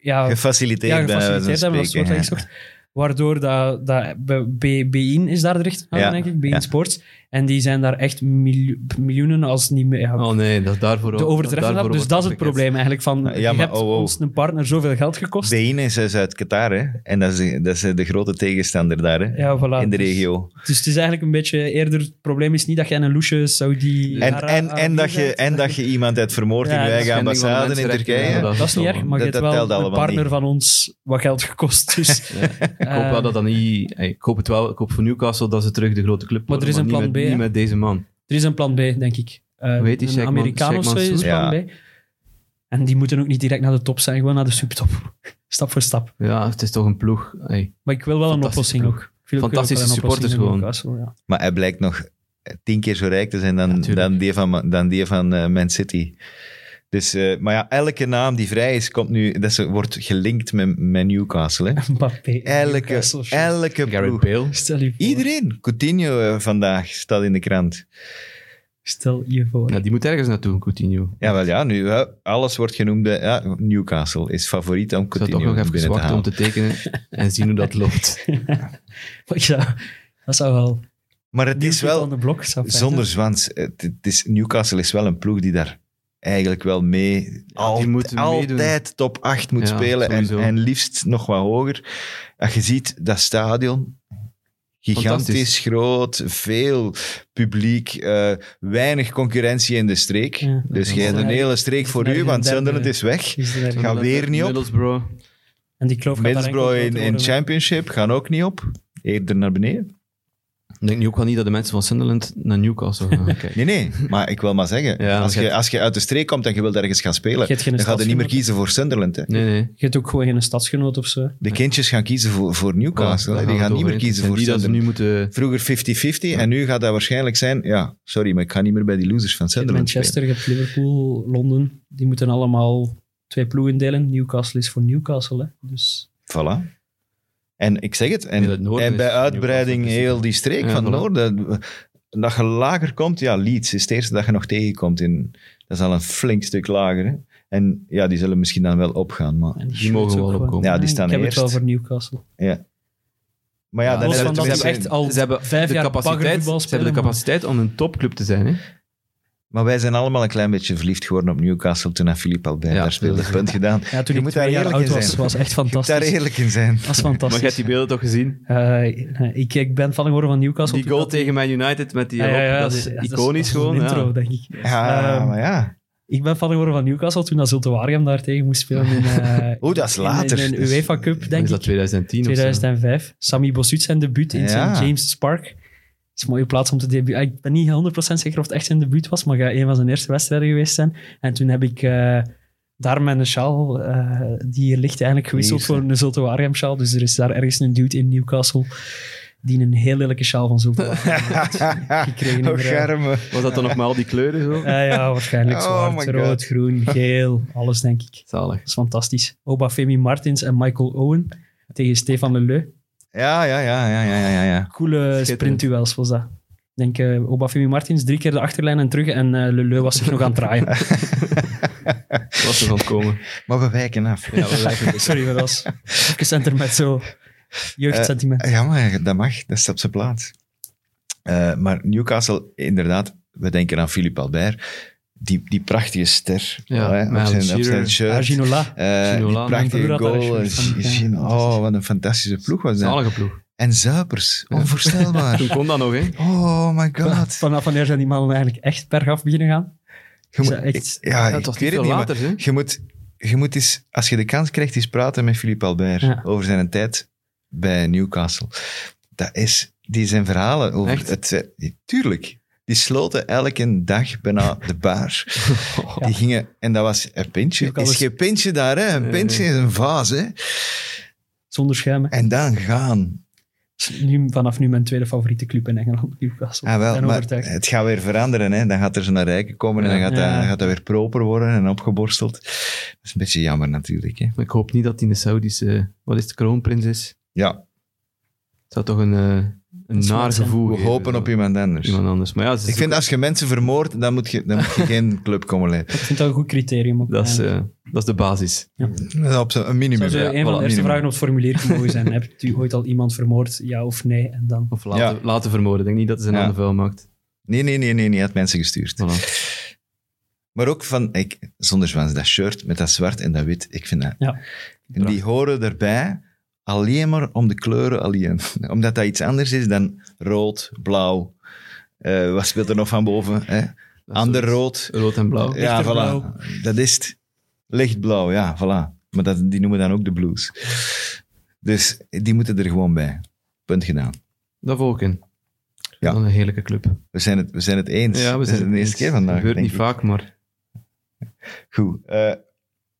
Speaker 4: ja,
Speaker 3: gefaciliteerd,
Speaker 4: ja,
Speaker 3: bij wijze van
Speaker 4: gefaciliteerd hebben, dat
Speaker 3: spreken,
Speaker 4: soort
Speaker 3: hè.
Speaker 4: dat soort. Waardoor dat, dat B- B- BIN is daar de rechthouder,
Speaker 3: Ja,
Speaker 4: denk ik, BIN
Speaker 3: ja.
Speaker 4: Sports. En die zijn daar echt miljo- miljoenen, als niet meer... ja,
Speaker 5: Oh nee, dat is daarvoor...
Speaker 4: te overtreffen
Speaker 5: daarvoor
Speaker 4: hebt. Dus
Speaker 5: wordt
Speaker 4: dat is het
Speaker 5: afgeketst.
Speaker 4: probleem eigenlijk. Van,
Speaker 3: Ja,
Speaker 4: je
Speaker 3: maar
Speaker 4: hebt
Speaker 3: oh, oh.
Speaker 4: ons een partner zoveel geld gekost.
Speaker 3: De Ine is is uit Qatar, hè. En dat is, dat is eh, de grote tegenstander daar, hè.
Speaker 4: Ja, voilà.
Speaker 3: in de
Speaker 4: Dus-
Speaker 3: regio.
Speaker 4: Dus het is eigenlijk een beetje eerder... Het probleem is niet dat jij een loesje Saudi...
Speaker 3: En, en, en, dat je, en dat je iemand hebt vermoord in
Speaker 4: Ja,
Speaker 3: je
Speaker 4: dat
Speaker 3: eigen
Speaker 5: schending van de
Speaker 3: ambassade in
Speaker 5: mensenrechten,
Speaker 3: Turkije.
Speaker 5: ja,
Speaker 4: Dat is niet
Speaker 5: zo,
Speaker 4: erg, maar je
Speaker 3: Dat-
Speaker 4: hebt
Speaker 3: dat telt
Speaker 4: wel een
Speaker 3: allemaal
Speaker 4: partner
Speaker 3: niet.
Speaker 4: van ons wat geld gekost. Dus,
Speaker 5: Ja. Ik hoop wel dat dat niet... Hey, Ik hoop het wel. Ik hoop voor Newcastle dat ze terug de grote club
Speaker 4: Maar er is
Speaker 5: worden,
Speaker 4: een
Speaker 5: niet
Speaker 4: plan
Speaker 5: met-
Speaker 4: B,
Speaker 5: Niet
Speaker 4: hè?
Speaker 5: met deze man.
Speaker 4: er is een plan B, denk ik. Eh,
Speaker 5: Weet je,
Speaker 4: een
Speaker 5: Sheikh Man-
Speaker 4: Amerikaan of
Speaker 5: Sheikh
Speaker 4: zo is een
Speaker 3: Mansour.
Speaker 4: plan B. En die moeten ook niet direct naar de top zijn, gewoon naar de subtop. Stap voor stap.
Speaker 5: Ja, het is toch een ploeg. Hey.
Speaker 4: Maar ik wil wel een
Speaker 5: Fantastische
Speaker 4: oplossing
Speaker 5: ploeg.
Speaker 4: ook. Ik wil ook wel
Speaker 5: Fantastische
Speaker 4: een oplossing
Speaker 5: supporters
Speaker 4: in
Speaker 5: gewoon.
Speaker 4: Newcastle, ja.
Speaker 3: Maar hij blijkt nog tien keer zo rijk te zijn dan,
Speaker 5: Ja, tuurlijk.
Speaker 3: dan die van, dan die van eh, Man City. Dus, eh, maar ja, elke naam die vrij is, komt nu, dat ze, wordt gelinkt met, met Newcastle. Hè.
Speaker 4: Mbappé.
Speaker 3: Elke,
Speaker 4: Newcastle, sure.
Speaker 3: elke
Speaker 5: Gareth
Speaker 3: ploeg.
Speaker 5: Bale.
Speaker 4: Stel je voor.
Speaker 3: Iedereen. Coutinho eh, vandaag staat in de krant.
Speaker 4: Stel je voor.
Speaker 5: Ja, die moet ergens naartoe, Coutinho.
Speaker 3: Ja, wel ja, nu eh, alles wordt genoemd. eh, Ja, Newcastle is favoriet om
Speaker 5: Ik zou toch
Speaker 3: Coutinho
Speaker 5: nog even
Speaker 3: binnen te
Speaker 5: wachten om
Speaker 3: halen.
Speaker 5: te tekenen en zien hoe dat loopt.
Speaker 4: Maar ik zou, dat zou wel...
Speaker 3: Maar het is wel,
Speaker 4: de blok, zou fijn
Speaker 3: Zonder
Speaker 4: zijn.
Speaker 3: zwans. eh, Het, het is, Newcastle is wel een ploeg die daar eigenlijk wel mee... al-
Speaker 5: moeten meedoen.
Speaker 3: altijd top 8 moet
Speaker 5: Ja,
Speaker 3: spelen. En,
Speaker 5: sowieso.
Speaker 3: en liefst nog wat hoger. Als je ziet, dat stadion... Gigantisch
Speaker 5: Fantastisch.
Speaker 3: groot, veel publiek, eh, weinig concurrentie in de streek.
Speaker 4: Ja.
Speaker 3: dus
Speaker 5: Ja.
Speaker 3: je hebt een
Speaker 4: Ja.
Speaker 3: hele streek voor
Speaker 4: Ja.
Speaker 3: u, want
Speaker 4: Ja.
Speaker 3: Sunderland is weg.
Speaker 4: Is er daar-
Speaker 3: Gaan weer niet op.
Speaker 5: Middlesbrough.
Speaker 4: En die kloof gaat daar enkel
Speaker 3: Middlesbrough in,
Speaker 4: groter
Speaker 3: in
Speaker 4: worden.
Speaker 3: Championship gaan ook niet op. Eerder naar beneden.
Speaker 5: Ik denk nu ook wel niet dat de mensen van Sunderland naar Newcastle gaan kijken.
Speaker 3: Nee, nee, maar ik wil maar zeggen,
Speaker 5: Ja,
Speaker 3: als,
Speaker 5: maar
Speaker 3: je,
Speaker 5: je-
Speaker 3: als je uit de streek komt en je wilt ergens gaan spelen,
Speaker 4: Je hebt geen
Speaker 3: dan gaat je niet meer
Speaker 4: stadsgenoot.
Speaker 3: kiezen voor Sunderland. Hè.
Speaker 5: Dus Nee, nee.
Speaker 4: Je hebt ook gewoon geen stadsgenoot of zo.
Speaker 3: De kindjes gaan kiezen voor, voor Newcastle.
Speaker 5: Voilà,
Speaker 3: hè.
Speaker 5: daar
Speaker 3: die
Speaker 5: we
Speaker 3: gaan
Speaker 5: het
Speaker 3: niet
Speaker 5: over
Speaker 3: meer
Speaker 5: eens.
Speaker 3: kiezen
Speaker 5: En
Speaker 3: voor
Speaker 5: die dat ze nu
Speaker 3: Sunderland.
Speaker 5: moeten...
Speaker 3: Vroeger 50-50 en nu gaat dat waarschijnlijk zijn... Ja, sorry, maar ik ga niet meer bij die losers van
Speaker 4: Je hebt
Speaker 3: Sunderland
Speaker 4: Manchester, je hebt Liverpool, Londen. Die moeten allemaal twee ploegen delen. Newcastle is voor Newcastle. Hè. Dus
Speaker 3: spelen. Voilà. En ik zeg het, en,
Speaker 5: Ja, dat Noorden
Speaker 3: en
Speaker 5: is
Speaker 3: bij uitbreiding
Speaker 5: Newcastle, dus-
Speaker 3: heel die streek
Speaker 5: Ja,
Speaker 3: van het
Speaker 5: voilà.
Speaker 3: Noorden... Dat je lager komt, ja, Leeds is het eerste dat je nog tegenkomt. In, dat is al een flink stuk lager. hè. En ja, die zullen misschien dan wel opgaan, maar...
Speaker 4: en
Speaker 5: Die mogen
Speaker 4: shirts
Speaker 5: wel
Speaker 4: ook gewoon.
Speaker 5: opkomen.
Speaker 3: Ja, die staan
Speaker 4: ik heb
Speaker 3: eerst.
Speaker 4: het wel voor Newcastle.
Speaker 3: Maar ja,
Speaker 5: Ja,
Speaker 3: dan
Speaker 4: Los
Speaker 5: ze
Speaker 3: hebben
Speaker 4: van
Speaker 3: we
Speaker 4: dat ze
Speaker 3: tenminste-
Speaker 4: echt al
Speaker 5: Ze hebben
Speaker 4: vijf
Speaker 5: de
Speaker 4: jaar
Speaker 5: capaciteit,
Speaker 4: baggervoetbal
Speaker 5: ze hebben de
Speaker 4: spelen, maar-
Speaker 5: capaciteit om een topclub te zijn. Hè?
Speaker 3: Maar wij zijn allemaal een klein beetje verliefd geworden op Newcastle toen Filip al bij
Speaker 5: Ja.
Speaker 3: daar speelde. Punt gedaan.
Speaker 4: Ja, toen
Speaker 3: Je
Speaker 4: ik
Speaker 3: moet
Speaker 4: twee
Speaker 3: daar
Speaker 4: jaar
Speaker 3: eerlijk
Speaker 4: oud
Speaker 3: in
Speaker 4: was,
Speaker 3: zijn.
Speaker 4: was echt
Speaker 3: Je moet daar
Speaker 4: fantastisch.
Speaker 3: eerlijk in zijn.
Speaker 4: Dat is
Speaker 5: Maar je hebt
Speaker 4: fantastisch.
Speaker 5: die beelden toch gezien?
Speaker 4: Eh, nee, ik, ik ben van geworden van Newcastle.
Speaker 5: Die
Speaker 4: toen
Speaker 5: goal
Speaker 4: dat-
Speaker 5: tegen Man United met die
Speaker 4: Ja, ja,
Speaker 5: erop,
Speaker 4: ja,
Speaker 5: dat
Speaker 4: dat
Speaker 5: is
Speaker 4: ja, dat
Speaker 5: iconisch
Speaker 4: dat is een
Speaker 5: gewoon.
Speaker 4: intro,
Speaker 5: ja.
Speaker 4: denk ik.
Speaker 3: Ja,
Speaker 4: Ehm,
Speaker 3: maar ja.
Speaker 4: Ik ben fan geworden van Newcastle toen dat Zulte Waregem daar tegen moest spelen in, eh,
Speaker 3: Oh, dat is
Speaker 4: in-
Speaker 3: later.
Speaker 4: in, een
Speaker 3: Dus-
Speaker 4: UEFA Cup, denk
Speaker 5: is dat
Speaker 4: ik.
Speaker 5: 2010 of zo?
Speaker 4: 2005. Sammy Bossut zijn debuut in
Speaker 3: Ja.
Speaker 4: St. James' Park. Het is een mooie plaats om te debuteren. Ik ben niet 100% zeker of het echt zijn debuut was, maar ga een van zijn eerste wedstrijden geweest zijn. En toen heb ik eh, daar mijn sjaal, eh, die hier ligt, eigenlijk gewisseld
Speaker 3: Eerste.
Speaker 4: voor een Zulte Waregem sjaal. Dus er is daar ergens een dude in Newcastle die een heel lelijke sjaal van Zulte Waregem heeft gekregen. in
Speaker 3: Oh,
Speaker 4: de ruil.
Speaker 3: germe.
Speaker 5: Was dat dan nog maar al die kleuren zo?
Speaker 4: Eh, ja, waarschijnlijk
Speaker 3: Oh
Speaker 4: zwart,
Speaker 3: my
Speaker 4: rood,
Speaker 3: God.
Speaker 4: groen, geel, alles denk ik.
Speaker 5: Zalig.
Speaker 4: Dat is fantastisch. Obafemi Martins en Michael Owen tegen Stefan Leleu.
Speaker 3: Ja, ja, ja, ja, ja, ja, ja.
Speaker 4: coole sprintduels was dat. Ik denk eh Obafemi Martins drie keer de achterlijn en terug en eh Leleu was zich nog aan het draaien.
Speaker 5: Was er van komen.
Speaker 3: Maar we wijken af.
Speaker 5: Ja, we lijken dus.
Speaker 4: Sorry, maar dat was even center met zo jeugdsentiment.
Speaker 3: Ja, maar dat mag. Dat staat op zijn plaats. Eh, maar Newcastle, inderdaad, we denken aan Philippe Albert. Die, die prachtige ster.
Speaker 5: Ja,
Speaker 3: hè, op
Speaker 5: Miles
Speaker 3: zijn, op
Speaker 5: Shearer.
Speaker 3: zijn shirt.
Speaker 4: Ah, Ginola.
Speaker 3: Eh,
Speaker 5: Ginola,
Speaker 3: die
Speaker 5: mijn
Speaker 3: prachtige
Speaker 4: broer had daar
Speaker 3: goal.
Speaker 4: een
Speaker 3: en
Speaker 4: shirt van.
Speaker 3: Gino-
Speaker 4: Ja, fantastisch.
Speaker 3: oh, wat een fantastische ploeg was dat.
Speaker 5: Zalige ploeg.
Speaker 3: En Zuipers. Onvoorstelbaar.
Speaker 5: Toen kon dat nog, hè?
Speaker 3: Oh my god.
Speaker 4: Vanaf wanneer zijn die mannen eigenlijk echt bergaf beginnen gaan?
Speaker 3: Je moet-
Speaker 4: Is dat echt-
Speaker 3: ja,
Speaker 5: Dat
Speaker 3: ik
Speaker 5: was
Speaker 3: weet
Speaker 5: niet
Speaker 3: het
Speaker 5: veel
Speaker 3: niet, maar
Speaker 5: later, hè?
Speaker 3: je moet, je moet eens, als je de kans krijgt, eens praten met Philippe Albert
Speaker 4: Ja.
Speaker 3: over zijn tijd bij Newcastle. Dat is, die zijn verhalen over
Speaker 5: Echt?
Speaker 3: het... eh, Tuurlijk. Die sloten elke dag bijna de bar. Die gingen, en dat was een pintje.
Speaker 4: Newcastle
Speaker 3: Is
Speaker 4: is-
Speaker 3: geen pintje daar, hè? Een
Speaker 5: Nee,
Speaker 3: pintje is een vaas, hè?
Speaker 4: Zonder schuim. hè.
Speaker 3: En dan gaan.
Speaker 4: Nu, vanaf nu mijn tweede favoriete club in Engeland, Newcastle.
Speaker 3: Ah, wel,
Speaker 4: Ik ben
Speaker 3: maar
Speaker 4: overtuigd.
Speaker 3: het gaat weer veranderen, hè? Dan gaat er zo'n rijke komen en
Speaker 5: Ja.
Speaker 3: dan gaat,
Speaker 4: Ja.
Speaker 3: dat, gaat dat weer proper worden en opgeborsteld. Dat is een beetje jammer natuurlijk, hè?
Speaker 5: Maar ik hoop niet dat die in de Saudische... Wat is het? Kroonprins is?
Speaker 3: Ja,
Speaker 5: Het zou toch een, eh, een
Speaker 4: is wel
Speaker 5: naar
Speaker 4: zijn.
Speaker 5: gevoel
Speaker 3: We
Speaker 5: geven,
Speaker 3: hopen
Speaker 5: zo.
Speaker 3: op iemand anders.
Speaker 5: iemand anders. Maar ja, het is
Speaker 3: ik vind
Speaker 5: ook-
Speaker 3: als je mensen vermoordt, dan moet je, dan moet je geen club komen leiden.
Speaker 4: Ik vind dat een goed criterium. Ook,
Speaker 5: dat, is,
Speaker 4: eigenlijk.
Speaker 5: eh, dat is de basis.
Speaker 3: Dat is op zo'n- een minimum.
Speaker 4: Zou zo
Speaker 5: ja,
Speaker 4: een van
Speaker 5: voilà,
Speaker 4: de eerste
Speaker 3: minimum.
Speaker 4: vragen op het formulier mogen zijn. Hebt u ooit al iemand vermoord? Ja of nee? En dan...
Speaker 5: Of laten,
Speaker 3: Ja.
Speaker 5: laten vermoorden. Ik denk niet dat ze zijn
Speaker 3: Ja.
Speaker 5: handen vuil maakt.
Speaker 3: Nee, nee, nee, nee, nee, had mensen gestuurd.
Speaker 5: Voilà.
Speaker 3: Maar ook van, ik, zonder zwans, dat shirt met dat zwart en dat wit, ik vind dat.
Speaker 4: Ja.
Speaker 3: En die horen erbij alleen maar om de kleuren alleen. Omdat dat iets anders is dan rood, blauw. Eh, wat speelt er nog van boven? Hè?
Speaker 5: Dat is
Speaker 3: Ander
Speaker 5: zoiets.
Speaker 3: rood.
Speaker 5: Rood en blauw.
Speaker 3: Ja, voilà.
Speaker 4: Lichterblauw.
Speaker 3: Dat is het. Lichtblauw, ja, voilà. Maar dat, die noemen dan ook de blues. Dus die moeten er gewoon bij. Punt gedaan.
Speaker 5: Dat volg ik in.
Speaker 3: Ja.
Speaker 5: Wat een heerlijke club.
Speaker 3: We zijn het, we zijn het eens.
Speaker 5: Ja, we
Speaker 3: Dat
Speaker 5: zijn
Speaker 3: is de eerste keer vandaag.
Speaker 5: gebeurt
Speaker 3: denk
Speaker 5: niet
Speaker 3: ik.
Speaker 5: vaak, maar
Speaker 3: Goed. eh,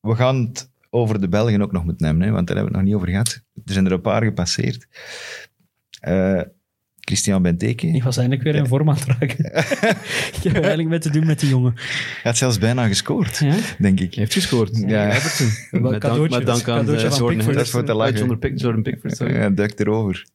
Speaker 3: we gaan het over de Belgen ook nog moeten nemen, hè, want daar hebben we het nog niet over gehad. Er zijn er een paar gepasseerd. Eh, Christian Benteke
Speaker 4: Ik was eindelijk weer in vorm aan het raken. ik heb eigenlijk met te doen met die jongen.
Speaker 3: had zelfs bijna gescoord,
Speaker 4: Ja?
Speaker 3: denk ik.
Speaker 5: hij heeft gescoord.
Speaker 3: Ja.
Speaker 5: Everton. Met
Speaker 4: Wel
Speaker 5: dank,
Speaker 4: cadeautje.
Speaker 5: met dank aan
Speaker 4: Cadeautje
Speaker 5: eh,
Speaker 4: van
Speaker 5: Jordan
Speaker 4: Pickford.
Speaker 3: Dat is voor te lachen.
Speaker 5: Ah, Jordan Pick- Jordan Pickford, sorry.
Speaker 3: Ja, duikt erover.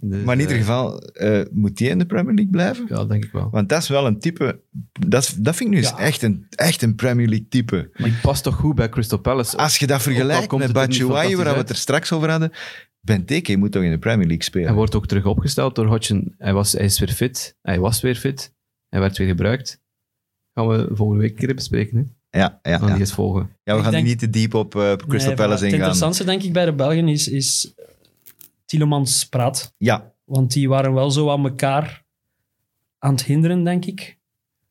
Speaker 5: Dus,
Speaker 3: Maar
Speaker 5: eh,
Speaker 3: in ieder geval, eh, moet die in de Premier League blijven?
Speaker 5: Ja, denk ik wel.
Speaker 3: Want dat is wel een type... Dat, dat vind ik nu eens
Speaker 4: Ja.
Speaker 3: echt, een, echt een Premier League type.
Speaker 5: Maar die past toch goed bij Crystal Palace?
Speaker 3: Als je dat
Speaker 5: al
Speaker 3: vergelijkt
Speaker 5: komt
Speaker 3: met
Speaker 5: het er niet
Speaker 3: Batshuayi, waar we het
Speaker 5: fantastisch
Speaker 3: er straks over hadden, Benteke moet toch in de Premier League spelen?
Speaker 5: Hij wordt ook terug opgesteld door Hodgson. Hij, was, hij is weer fit. Hij was weer fit. Hij werd weer gebruikt. Gaan we volgende week een keer bespreken. Hè?
Speaker 3: Ja, ja,
Speaker 5: Gaan
Speaker 3: ja.
Speaker 5: die eens volgen.
Speaker 3: ja we
Speaker 4: Ik
Speaker 3: gaan
Speaker 4: denk-
Speaker 3: niet te diep op eh, Crystal
Speaker 4: Nee, voilà.
Speaker 3: Palace
Speaker 4: Het
Speaker 3: ingaan.
Speaker 4: interessantste denk ik bij de Belgen is, is Tielemans praat.
Speaker 3: Ja,
Speaker 4: Want die waren wel zo aan elkaar aan het hinderen, denk ik.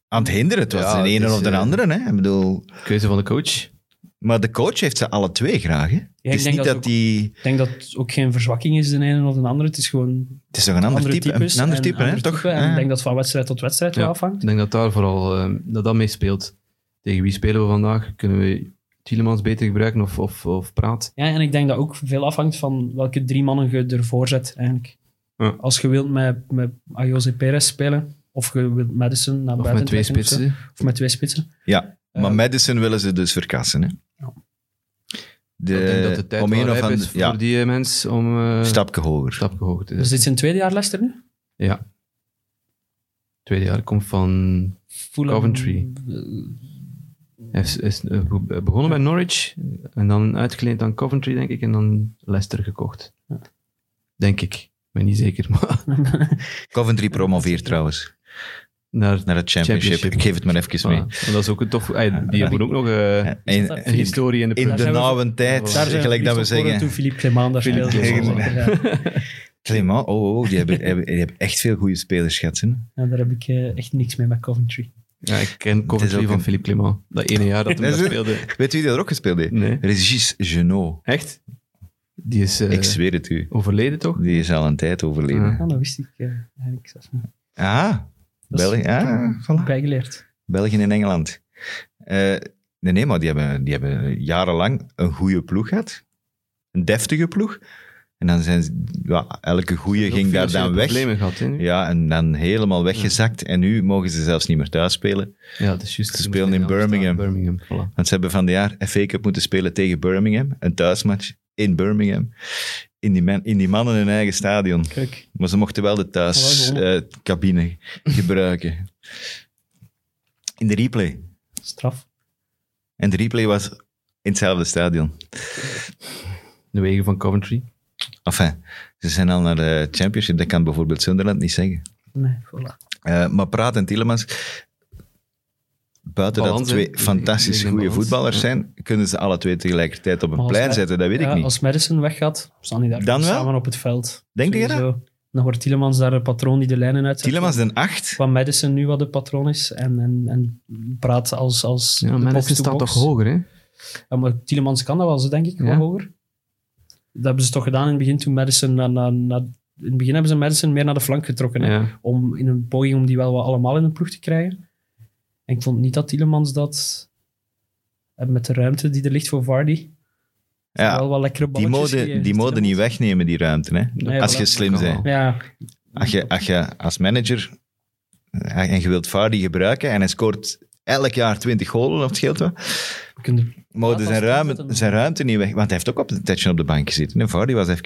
Speaker 3: aan het hinderen. Het was
Speaker 5: Ja,
Speaker 3: de
Speaker 5: het
Speaker 3: ene
Speaker 5: is,
Speaker 3: of de
Speaker 5: eh,
Speaker 3: andere. Hè. Ik bedoel,
Speaker 5: Keuze van de coach.
Speaker 3: maar de coach heeft ze alle twee graag. Hè.
Speaker 4: ik
Speaker 3: het is
Speaker 4: denk
Speaker 3: niet
Speaker 4: dat
Speaker 3: dat,
Speaker 4: ook-
Speaker 3: die...
Speaker 4: Ik denk dat het ook geen verzwakking is de ene of de andere. Het is gewoon
Speaker 3: Het is toch een ander
Speaker 4: andere
Speaker 3: type.
Speaker 4: types.
Speaker 3: Een ander
Speaker 4: en
Speaker 3: type, hè,
Speaker 4: ander
Speaker 3: toch? Ah,
Speaker 4: type. En
Speaker 3: Ja.
Speaker 4: ik denk dat het van wedstrijd tot wedstrijd wel
Speaker 5: Ja.
Speaker 4: afhangt.
Speaker 5: Ik denk dat daar vooral eh, dat, dat mee speelt. Tegen wie spelen we vandaag? Kunnen we Tielemans beter gebruiken of, of, of Praat?
Speaker 4: Ja, en ik denk dat ook veel afhangt van welke drie mannen je ervoor zet, eigenlijk.
Speaker 5: Ja.
Speaker 4: Als je wilt met, met Ayose Perez spelen, of je wilt Madison naar
Speaker 5: Of
Speaker 4: buiten
Speaker 5: met twee
Speaker 4: trekken of zo,
Speaker 5: spitsen?
Speaker 4: Of met twee spitsen.
Speaker 3: Ja, maar
Speaker 4: Eh,
Speaker 3: Madison willen ze dus verkassen. Hè.
Speaker 4: Ja.
Speaker 3: De,
Speaker 5: ik denk dat de tijd
Speaker 3: om een
Speaker 5: wel
Speaker 3: of
Speaker 5: rijp is
Speaker 3: andere...
Speaker 5: voor
Speaker 3: Ja,
Speaker 5: die eh, mens om eh, een
Speaker 3: stapje hoger.
Speaker 5: stap hoger te
Speaker 4: Dus
Speaker 5: zetten.
Speaker 4: dit is zijn tweede jaar Leicester nu?
Speaker 5: Ja. Tweede jaar komt van
Speaker 4: Fulham.
Speaker 5: Coventry.
Speaker 4: Eh,
Speaker 3: Oh,
Speaker 5: Hij is, is eh, be- begonnen bij Norwich en dan uitgeleend aan Coventry, denk ik, en dan Leicester gekocht. Denk ik. Ik ben niet zeker, maar
Speaker 3: Coventry promoveert trouwens
Speaker 5: naar
Speaker 3: naar het championship.
Speaker 5: Championship. Ah.
Speaker 3: Ik geef het maar even mee.
Speaker 5: voilà. Want Dat is ook een tof... ey, die hebben ook nog eh,
Speaker 3: En- en-
Speaker 5: een historie in de
Speaker 3: in
Speaker 5: Premier
Speaker 3: de
Speaker 4: zijn we-
Speaker 3: nauwe tijd,
Speaker 5: daar zijn we
Speaker 3: gelijk dat we
Speaker 4: Toen
Speaker 3: zeggen.
Speaker 4: Philippe Clement daar
Speaker 5: Philippe
Speaker 4: speelde.
Speaker 3: Clement.
Speaker 4: Ja,
Speaker 3: Clément, oh, oh die, hebben, hebben- die hebben echt veel goede spelers gehad. hè.
Speaker 4: ja, daar heb ik eh, echt niks mee met Coventry.
Speaker 5: Ja, ik ken
Speaker 3: Het is
Speaker 5: Coventry
Speaker 3: ook
Speaker 5: van
Speaker 3: een-
Speaker 5: Philippe Clément. Dat ene jaar dat hij
Speaker 3: Is
Speaker 5: daar
Speaker 3: het?
Speaker 5: speelde.
Speaker 3: Weet u wie dat er ook gespeeld heeft?
Speaker 5: Nee.
Speaker 3: Regis Genot.
Speaker 5: Echt? Die is eh,
Speaker 3: Ik zweer het u.
Speaker 5: overleden, toch?
Speaker 3: Die is al een tijd overleden.
Speaker 5: Ja.
Speaker 4: Ja, dat wist ik eh, eigenlijk zelf niet.
Speaker 3: Ah,
Speaker 4: Dat is-
Speaker 3: België. Ah, voilà.
Speaker 4: Bijgeleerd.
Speaker 3: België en Engeland. Eh, nee, nee, maar die hebben, die hebben jarenlang een goede ploeg gehad. Een deftige ploeg. En dan zijn ze, ja, elke goede ging daar dan weg.
Speaker 5: problemen gehad, hè, nu.
Speaker 3: Ja, en dan helemaal weggezakt. En nu mogen ze zelfs niet meer thuis spelen.
Speaker 5: Ja, dat is juist.
Speaker 3: Ze
Speaker 5: Ze
Speaker 3: spelen
Speaker 5: moesten
Speaker 3: in
Speaker 5: Amsterdam,
Speaker 3: Birmingham.
Speaker 5: Birmingham, voilà.
Speaker 3: Want ze hebben van de jaar FA Cup moeten spelen tegen Birmingham. Een thuismatch in Birmingham. In die, man- in die mannen hun eigen stadion.
Speaker 4: Kijk.
Speaker 3: Maar ze mochten wel de
Speaker 4: Wel gewonnen.
Speaker 3: thuiscabine gebruiken. In de replay.
Speaker 4: Straf.
Speaker 3: En de replay was in hetzelfde stadion.
Speaker 5: De wegen van Coventry.
Speaker 3: Enfin, ze zijn al naar de championship. Dat kan bijvoorbeeld Sunderland niet zeggen.
Speaker 4: Nee, voilà.
Speaker 3: Eh, maar Praat en Tielemans, buiten
Speaker 5: Balans,
Speaker 3: dat twee
Speaker 5: hè?
Speaker 3: fantastisch
Speaker 5: Tegen de
Speaker 3: goede
Speaker 5: balans,
Speaker 3: voetballers
Speaker 5: ja.
Speaker 3: zijn, kunnen ze alle twee tegelijkertijd op een
Speaker 4: Maar als
Speaker 3: plein
Speaker 4: wij-
Speaker 3: zetten. Dat weet
Speaker 4: Ja,
Speaker 3: ik niet.
Speaker 4: Als Madison weggaat, staan die daar
Speaker 3: Dan wel?
Speaker 4: samen op het veld.
Speaker 3: Denk je dat?
Speaker 4: Sowieso. Dan wordt Tielemans daar de patroon die de lijnen uitzet.
Speaker 3: Tielemans den 8.
Speaker 4: Van Madison nu wat de patroon is en, en, en praat als, als
Speaker 5: Ja,
Speaker 4: de
Speaker 5: Madison
Speaker 4: box-to-box.
Speaker 5: staat toch hoger, hè?
Speaker 4: Ja, maar Tielemans kan dat wel, zo denk ik, wel
Speaker 5: Ja.
Speaker 4: hoger. Dat hebben ze toch gedaan in het begin toen Madison... Na, na, na, in het begin hebben ze Madison meer naar de flank getrokken. hè.
Speaker 5: Ja.
Speaker 4: Om, in een poging om die wel wat allemaal in de ploeg te krijgen. En ik vond niet dat Tielemans dat... En met de ruimte die er ligt voor Vardy.
Speaker 3: Ja,
Speaker 4: wel wat lekkere
Speaker 3: die
Speaker 4: balletjes.
Speaker 3: mode,
Speaker 4: gegeven,
Speaker 3: die mode niet
Speaker 4: Tielemans.
Speaker 3: wegnemen, die ruimte. Hè?
Speaker 4: Nee,
Speaker 3: Als
Speaker 4: voilà.
Speaker 3: je slim
Speaker 5: Dat kan
Speaker 3: bent.
Speaker 5: wel.
Speaker 4: Ja.
Speaker 3: Als je, als je als manager eh, en je wilt Vardy gebruiken en hij scoort elk jaar 20 golen of het scheelt wat,
Speaker 4: We kunnen-
Speaker 3: mogen
Speaker 4: Ja,
Speaker 3: zijn,
Speaker 4: dat
Speaker 3: ruim,
Speaker 4: is het.
Speaker 3: zijn ruimte niet weg. Want hij heeft ook op een tijdje op de bank gezeten. En Vardy was even,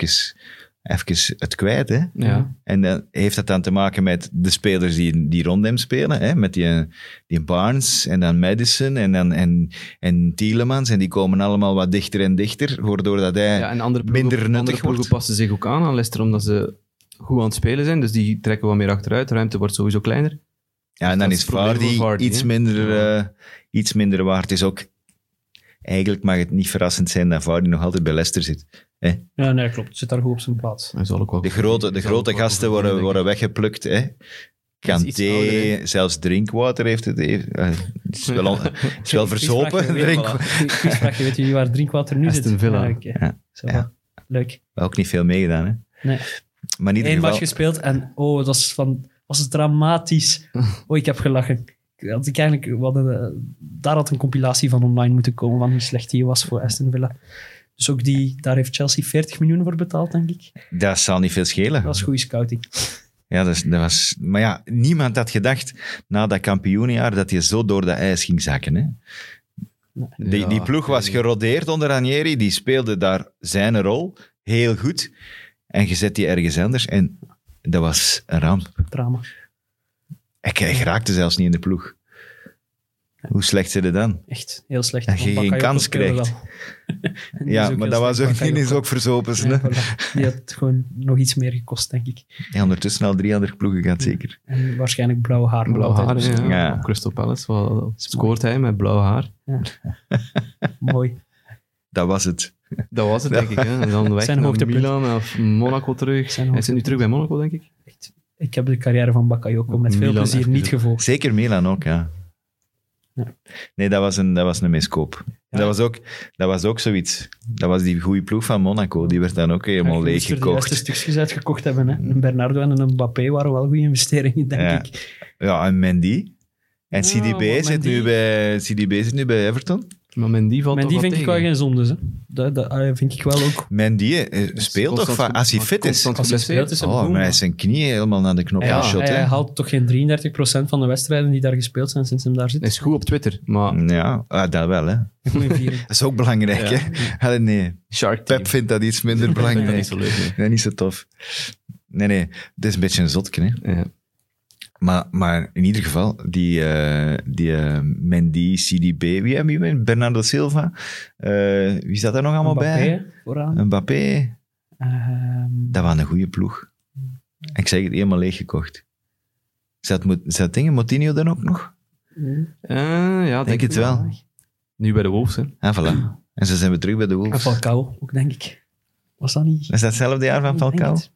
Speaker 3: even het kwijt. Hè?
Speaker 5: Ja.
Speaker 3: En dan heeft dat dan te maken met de spelers die, die rond hem spelen. Hè? Met die, die Barnes en dan Madison en, dan, en, en Tielemans. En die komen allemaal wat dichter en dichter, waardoor dat hij...
Speaker 5: ja, en andere ploegen,
Speaker 3: minder nuttig
Speaker 5: andere ploegen
Speaker 3: wordt.
Speaker 5: passen zich ook aan aan Leicester, omdat ze goed aan het spelen zijn. Dus die trekken wat meer achteruit. De ruimte wordt sowieso kleiner.
Speaker 3: Ja,
Speaker 5: Dat
Speaker 3: en dan
Speaker 5: is
Speaker 3: is
Speaker 5: het probleem
Speaker 3: Vardy,
Speaker 5: van Vardy,
Speaker 3: iets,
Speaker 5: hè?
Speaker 3: minder,
Speaker 5: Ja.
Speaker 3: eh, iets minder waard. Het is ook... Eigenlijk mag het niet verrassend zijn dat Vardy nog altijd bij Leicester zit.
Speaker 4: Ja, nee, klopt. Zit daar goed op zijn plaats.
Speaker 5: Dat zal ook wel
Speaker 3: De grote, de
Speaker 5: zal
Speaker 3: grote
Speaker 5: ook wel
Speaker 3: gasten
Speaker 5: goed
Speaker 3: worden,
Speaker 5: zijn, denk
Speaker 3: worden weggeplukt. Hè.
Speaker 5: is iets ouder,
Speaker 3: Kanté, zelfs drinkwater heeft het... Heeft, eh, het is wel, on- het is wel verzopen.
Speaker 4: Quizvraagje, weet-
Speaker 3: Drink,
Speaker 4: voilà. Quizvraagje, weet jullie waar drinkwater nu
Speaker 5: Aston
Speaker 4: zit?
Speaker 5: Villa.
Speaker 4: Ja, oké.
Speaker 3: Ja.
Speaker 4: Zo,
Speaker 3: Ja.
Speaker 4: Leuk.
Speaker 3: ook niet veel meegedaan, hè.
Speaker 4: Nee.
Speaker 3: Maar in ieder
Speaker 4: Eén match
Speaker 3: geval...
Speaker 4: gespeeld en oh, het was, van, was dramatisch. Oh, ik heb gelachen. Ik Had ik eigenlijk, we hadden, eh, daar had een compilatie van online moeten komen van hoe slecht hij was voor Aston Villa. Dus ook die, daar heeft Chelsea 40 miljoen voor betaald, denk ik.
Speaker 3: Dat zal niet veel schelen.
Speaker 4: Dat is goede scouting.
Speaker 3: Ja, dat, is- dat was... Maar ja, niemand had gedacht na dat kampioenjaar dat hij zo door dat ijs ging zakken. Hè?
Speaker 5: ik.
Speaker 3: Die,
Speaker 5: Ja,
Speaker 3: die ploeg was
Speaker 5: ik
Speaker 3: gerodeerd onder Ranieri. Die speelde daar zijn rol heel goed. En je zet die ergens anders. En dat was een ramp.
Speaker 4: Drama.
Speaker 3: Ik, ik raakte zelfs niet in de ploeg. Hoe slecht ze er dan?
Speaker 4: Echt heel slecht.
Speaker 3: Dat je
Speaker 4: Want
Speaker 3: geen
Speaker 4: Bakayoko
Speaker 3: kans
Speaker 4: speelde
Speaker 3: krijgt.
Speaker 4: wel. En die
Speaker 3: Ja,
Speaker 4: is
Speaker 3: maar
Speaker 4: heel
Speaker 3: dat was
Speaker 4: slecht,
Speaker 3: ook, die is
Speaker 4: Bakayoko.
Speaker 3: ook verzopen.
Speaker 4: Ja,
Speaker 3: hè.
Speaker 4: voilà. Die had gewoon nog iets meer gekost, denk ik.
Speaker 3: Ja, ondertussen al 300 ploegen gaat zeker.
Speaker 4: En waarschijnlijk blauw haar.
Speaker 5: denk- Blauw
Speaker 4: Altijd
Speaker 5: haar,
Speaker 4: dus-
Speaker 5: ja.
Speaker 3: Ja.
Speaker 5: Op Crystal Palace wel- scoort hij met blauw haar.
Speaker 4: Mooi.
Speaker 3: Dat was het.
Speaker 5: Dat was het, denk ik. Hè. En dan weg
Speaker 4: Zijn
Speaker 5: naar
Speaker 4: hoogtepunt.
Speaker 5: Milan of Monaco terug.
Speaker 4: Zijn
Speaker 5: hij zit nu terug bij Monaco, denk ik.
Speaker 4: Echt, ik heb de carrière van Bakayoko met veel
Speaker 5: Milan
Speaker 4: plezier
Speaker 5: echt
Speaker 4: niet
Speaker 5: goed.
Speaker 4: gevolgd.
Speaker 3: Zeker Milan ook, ja.
Speaker 4: Ja.
Speaker 3: Nee, dat was een, dat was een miskoop.
Speaker 4: Ja.
Speaker 3: Dat, was ook, dat was ook zoiets. Dat was die goede ploeg van Monaco. Die werd dan ook helemaal
Speaker 4: Je
Speaker 3: leeg
Speaker 4: moest er de
Speaker 3: gekocht. Mm.
Speaker 4: juiste stukjes uitgekocht hebben. Hè. Een Bernardo en een Mbappé waren wel goede investeringen, denk
Speaker 3: Ja.
Speaker 4: ik.
Speaker 3: Ja, en Mendy. En
Speaker 4: Ja,
Speaker 3: CDB,
Speaker 4: maar
Speaker 3: zit
Speaker 4: Mendy-
Speaker 3: nu bij, CDB zit nu bij Everton.
Speaker 5: Maar Mendy valt
Speaker 4: Maar
Speaker 5: toch
Speaker 4: die vind
Speaker 5: tegen.
Speaker 4: ik wel geen zondes. Hè. Dat, dat eh, vind ik wel ook.
Speaker 3: Mendy eh, speelt toch
Speaker 5: Constant
Speaker 3: vaak als hij
Speaker 5: maar
Speaker 3: fit is.
Speaker 5: constant
Speaker 4: Als hij
Speaker 5: geblesseerd.
Speaker 4: speelt is een
Speaker 3: Oh,
Speaker 4: boom.
Speaker 3: maar hij is zijn knieën helemaal naar de knop
Speaker 5: Ja,
Speaker 3: geschot.
Speaker 4: hij,
Speaker 3: hè.
Speaker 4: haalt toch geen 33% van de wedstrijden die daar gespeeld zijn sinds hem daar zit.
Speaker 5: Hij is goed op Twitter, maar...
Speaker 3: Ja, ah, dat wel. Hè. Dat
Speaker 4: Goeie vier.
Speaker 3: is ook belangrijk.
Speaker 5: Ja.
Speaker 3: Hè? Allee, nee,
Speaker 5: Shark Team.
Speaker 3: Pep vindt dat iets minder
Speaker 5: Dat is
Speaker 3: belangrijk.
Speaker 5: niet zo leuk, nee.
Speaker 3: Nee, niet zo tof. Nee, nee, het is een beetje een zotje. Hè.
Speaker 5: Ja.
Speaker 3: Maar, maar in ieder geval, die, eh, die eh, Mendy, CDB, wie hebben we? hier? Bernardo Silva. Eh, wie zat daar nog allemaal bij?
Speaker 4: Mbappé vooraan.
Speaker 3: Mbappé.
Speaker 4: Ehm,
Speaker 3: Dat was een goede ploeg. Ik zeg het, helemaal leeggekocht. Zat, Mo- zat dingen, Motinho dan ook nog?
Speaker 4: Ehm,
Speaker 5: Eh, ja,
Speaker 3: Denk het wel.
Speaker 5: Nu bij de Wolves, hè.
Speaker 3: Ah, voilà. En zo zijn we terug bij de
Speaker 4: En
Speaker 3: Wolves.
Speaker 4: Falcao ook, denk ik. Was dat niet?
Speaker 3: Is dat hetzelfde jaar van
Speaker 4: Ik denk
Speaker 3: Falcao?
Speaker 4: het.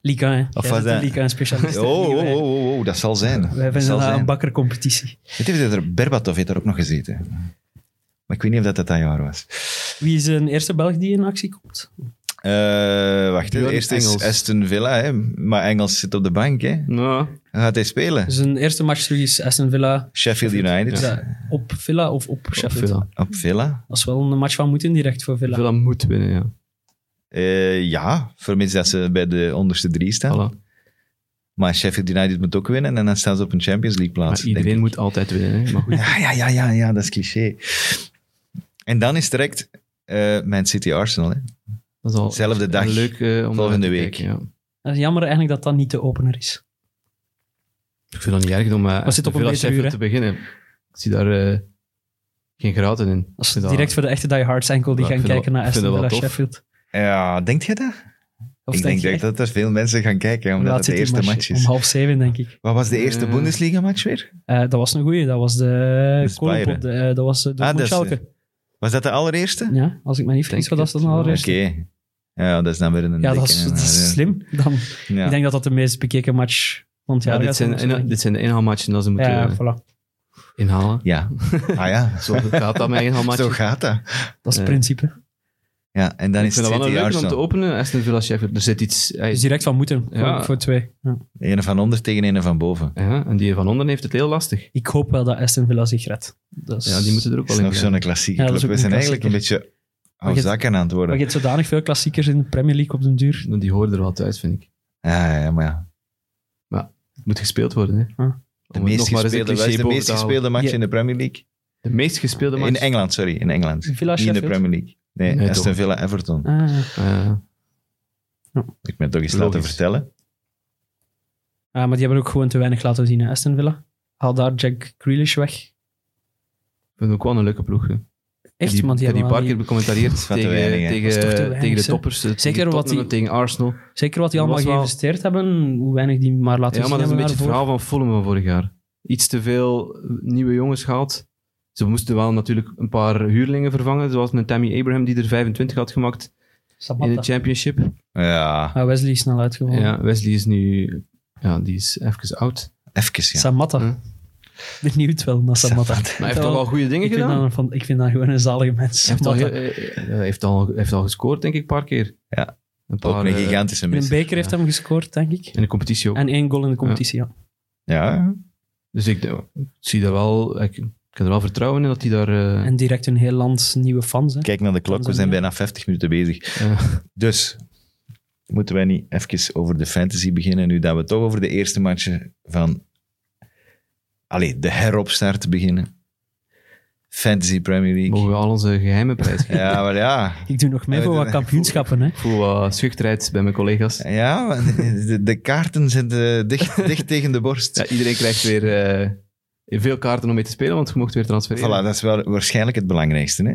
Speaker 4: Ligue 1.
Speaker 3: Of was
Speaker 4: Jij bent
Speaker 3: dat-
Speaker 4: een Ligue 1 specialist.
Speaker 3: Oh, oh,
Speaker 4: niet
Speaker 3: oh,
Speaker 4: wij.
Speaker 3: oh, oh, dat zal zijn.
Speaker 4: Wij
Speaker 3: dat
Speaker 4: vinden
Speaker 3: zal
Speaker 4: dat
Speaker 3: zijn.
Speaker 4: een bakkercompetitie.
Speaker 3: Het heeft er, Berbatov heeft er ook nog gezeten. Maar ik weet niet of dat dat dat jaar was.
Speaker 4: Wie is een eerste Belg die in actie komt?
Speaker 3: Eh, wacht, hè.
Speaker 5: Björn
Speaker 3: eerst is
Speaker 5: Engels.
Speaker 3: Aston Villa, hè. maar Engels zit op de bank. Hè.
Speaker 5: Nou,
Speaker 3: Dan gaat hij spelen.
Speaker 4: Dus een eerste match terug is Aston Villa.
Speaker 3: Sheffield United
Speaker 4: Is dat op Villa of op Sheffield?
Speaker 5: Villa.
Speaker 3: op Villa.
Speaker 4: Dat is wel een match van moeten direct voor Villa.
Speaker 5: Villa moet winnen, ja.
Speaker 3: Eh, ja, vermits dat ze bij de onderste drie staan.
Speaker 5: Voilà.
Speaker 3: Maar Sheffield United moet ook winnen en dan staan ze op een Champions League plaats.
Speaker 5: Maar
Speaker 3: denk
Speaker 5: iedereen moet altijd winnen, hè. Maar goed.
Speaker 3: Ja, ja, ja, ja, ja, dat is cliché. En dan is direct eh Man City Arsenal. Hè.
Speaker 5: Dat is al
Speaker 3: Zelfde dag.
Speaker 5: een leuk eh, om
Speaker 3: Volgende
Speaker 5: naar te
Speaker 3: week.
Speaker 5: kijken, ja.
Speaker 4: Dat is jammer eigenlijk dat dat niet de opener is.
Speaker 5: Ik vind dat niet erg om eh,
Speaker 4: zit op een
Speaker 5: Villa
Speaker 4: beter
Speaker 5: Sheffield
Speaker 4: uur, hè.
Speaker 5: te beginnen. Ik zie daar eh, geen graten in.
Speaker 4: Dat is
Speaker 5: Ik vind
Speaker 4: direct voor de echte diehards enkel die
Speaker 5: Ja,
Speaker 4: gaan
Speaker 5: ik vind
Speaker 4: kijken
Speaker 5: dat-
Speaker 4: naar
Speaker 5: ik vind
Speaker 4: Aston
Speaker 5: dat
Speaker 4: Villa
Speaker 5: wel tof.
Speaker 4: Sheffield.
Speaker 3: Ja, denk je dat?
Speaker 4: Of
Speaker 3: ik denk,
Speaker 4: je
Speaker 3: echt
Speaker 4: echt?
Speaker 3: dat er veel mensen gaan kijken, omdat het
Speaker 4: Laat
Speaker 3: de
Speaker 4: zit die
Speaker 3: eerste match is.
Speaker 4: Om half zeven, denk ik.
Speaker 3: Wat was de eerste
Speaker 5: Eh,
Speaker 3: Bundesliga-match weer?
Speaker 4: Eh, dat was een goeie. Dat was de...
Speaker 3: is
Speaker 4: Kolop
Speaker 3: Bayern.
Speaker 4: op de eh, dat was de
Speaker 3: dat is- eh,
Speaker 4: Schalke.
Speaker 3: Was dat de allereerste?
Speaker 4: Ja, als ik me niet vergis,
Speaker 5: Denk
Speaker 4: was dat
Speaker 5: het
Speaker 4: dan
Speaker 5: wel.
Speaker 4: allereerst.
Speaker 3: Oké. Ja, dat is dan weer een
Speaker 4: Ja,
Speaker 3: dikke-
Speaker 4: dat is, dat
Speaker 3: eh,
Speaker 4: is slim. Dan,
Speaker 3: Ja.
Speaker 4: Ik denk dat dat de meest bekeken match van het jaar
Speaker 5: Ja, dit,
Speaker 4: gaat
Speaker 5: zijn,
Speaker 4: zijn,
Speaker 5: inha-
Speaker 4: denk ik.
Speaker 5: dit zijn de inhaalmatchen dat ze moeten
Speaker 4: ja,
Speaker 5: eh,
Speaker 4: voilà.
Speaker 5: inhalen.
Speaker 3: Ja. Ah ja,
Speaker 5: Zo gaat dat met
Speaker 3: zo
Speaker 5: inhaalmatchen.
Speaker 3: gaat dat.
Speaker 4: Dat is het
Speaker 5: eh,
Speaker 4: principe.
Speaker 3: Ja, en dan
Speaker 5: Ik
Speaker 3: is
Speaker 5: vind dat wel
Speaker 3: het
Speaker 5: een
Speaker 3: City
Speaker 5: leuke om te
Speaker 3: Arsenal.
Speaker 5: openen. Aston Villa Sheffield. Er zit iets... hij-
Speaker 4: Dus direct van moeten, voor-
Speaker 5: Ja.
Speaker 4: voor, twee. Ja.
Speaker 3: Een van onder tegen een van boven.
Speaker 5: ja, en die van onder heeft het heel lastig.
Speaker 4: Ik hoop wel dat Aston Villa zich redt. Dat is-
Speaker 5: Ja, die moeten er ook
Speaker 3: Dat
Speaker 5: wel
Speaker 3: is
Speaker 5: in.
Speaker 3: nog
Speaker 5: krijgen.
Speaker 3: zo'n klassieke
Speaker 4: Ja, dat
Speaker 3: club.
Speaker 4: is
Speaker 3: We zijn
Speaker 4: ook een
Speaker 3: eigenlijk een beetje
Speaker 4: Maar je-
Speaker 3: zakken aan het
Speaker 4: Maar
Speaker 3: worden.
Speaker 4: je hebt zodanig veel klassiekers in de Premier League op den duur.
Speaker 5: Want Die horen er wel thuis, vind ik.
Speaker 3: Ja, ja, ja, maar ja.
Speaker 5: Het moet gespeeld worden, hè.
Speaker 4: Ja.
Speaker 3: De
Speaker 5: Om het
Speaker 3: meest
Speaker 5: nog maar eens een
Speaker 3: gespeelde, wat is
Speaker 5: cliché
Speaker 3: de
Speaker 5: boven
Speaker 3: meest
Speaker 5: te halen.
Speaker 3: gespeelde match
Speaker 4: Ja.
Speaker 3: in de Premier League?
Speaker 5: De meest gespeelde match.
Speaker 3: In Engeland, sorry. In Engeland.
Speaker 4: Villa
Speaker 3: Niet in de
Speaker 4: Sheffield.
Speaker 3: Premier League. Nee,
Speaker 5: Nee,
Speaker 3: Aston
Speaker 5: toch.
Speaker 3: Villa Everton.
Speaker 4: Ah,
Speaker 5: Eh,
Speaker 3: Ik ben het toch
Speaker 5: Logisch.
Speaker 3: eens laten vertellen.
Speaker 4: Ah, maar die hebben ook gewoon te weinig laten zien, hè, Aston Villa. Haal daar Jack Grealish weg.
Speaker 5: Ik vind het ook wel een leuke ploeg. hè. Ik heb
Speaker 4: Echt,
Speaker 5: die,
Speaker 4: want die
Speaker 5: ik heb die
Speaker 4: hebben
Speaker 5: paar
Speaker 4: wel
Speaker 5: keer
Speaker 4: niet-
Speaker 5: becommentarieerd
Speaker 3: is wat te
Speaker 5: tegen,
Speaker 3: weinig, hè.
Speaker 5: tegen,
Speaker 4: Dat is toch te weinig,
Speaker 5: tegen de
Speaker 4: hè.
Speaker 5: toppers. eh,
Speaker 4: Zeker
Speaker 5: tegen
Speaker 4: wat
Speaker 5: Tottenham,
Speaker 4: die-
Speaker 5: tegen Arsenal.
Speaker 4: Zeker wat die
Speaker 5: Dat was
Speaker 4: allemaal
Speaker 5: wel-
Speaker 4: geïnvesteerd hebben, hoe weinig die maar laten
Speaker 5: Ja,
Speaker 4: zien
Speaker 5: maar dat is een beetje
Speaker 4: hebben
Speaker 5: het verhaal van Fulham van vorig jaar. Iets te veel nieuwe jongens gehaald. Ze moesten wel natuurlijk een paar huurlingen vervangen, zoals met Tammy Abraham, die er 25 had gemaakt
Speaker 4: daarvoor. Sabata.
Speaker 5: in de championship.
Speaker 3: Ja,
Speaker 4: Ah, Wesley is snel uitgevallen.
Speaker 5: Ja, Wesley is nu... Ja, die is even oud.
Speaker 3: even ja.
Speaker 4: Samatta.
Speaker 5: Hm.
Speaker 4: Benieuwd wel naar Samatta.
Speaker 5: Maar hij heeft toch wel goede dingen
Speaker 4: ik vind,
Speaker 5: gedaan?
Speaker 4: dat, een van- ik vind dat gewoon een zalige mens.
Speaker 5: Hij heeft al,
Speaker 4: Samatta.
Speaker 5: heel- eh, eh, hij heeft, al, hij heeft al gescoord, denk ik, een paar keer.
Speaker 3: Ja.
Speaker 5: Een paar,
Speaker 3: Ook een
Speaker 5: eh,
Speaker 3: gigantische
Speaker 4: In een
Speaker 3: mis.
Speaker 4: beker heeft hem gescoord, denk ik.
Speaker 5: in de competitie ook.
Speaker 4: En één goal in de competitie, ja.
Speaker 3: Ja,
Speaker 5: Dus ik, eh, zie daar wel... Ik, ik heb er wel vertrouwen in dat hij daar... eh,
Speaker 4: En direct een heel land nieuwe fans. Hè.
Speaker 3: kijk naar de klok. We zijn
Speaker 4: Tanzania.
Speaker 3: bijna 50 minuten bezig.
Speaker 5: eh,
Speaker 3: Dus, moeten wij niet even over de fantasy beginnen, nu dat we toch over de eerste matchen van... Allee, de heropstart beginnen. Fantasy Premier
Speaker 5: mogen
Speaker 3: League.
Speaker 5: we al onze geheime prijs geven?
Speaker 3: Ja, maar ja...
Speaker 4: Ik doe nog mee
Speaker 3: Ja,
Speaker 4: voor
Speaker 3: dat-
Speaker 4: wat kampioenschappen, hè.
Speaker 5: Ik voel wat schuchterheid bij mijn collega's.
Speaker 3: Ja, maar de, de- de kaarten zitten dicht, dicht tegen de borst.
Speaker 5: Ja, iedereen krijgt weer eh, veel kaarten om mee te spelen, want je mocht weer transfereren.
Speaker 3: Voilà, dat is wel waarschijnlijk het belangrijkste. Hè?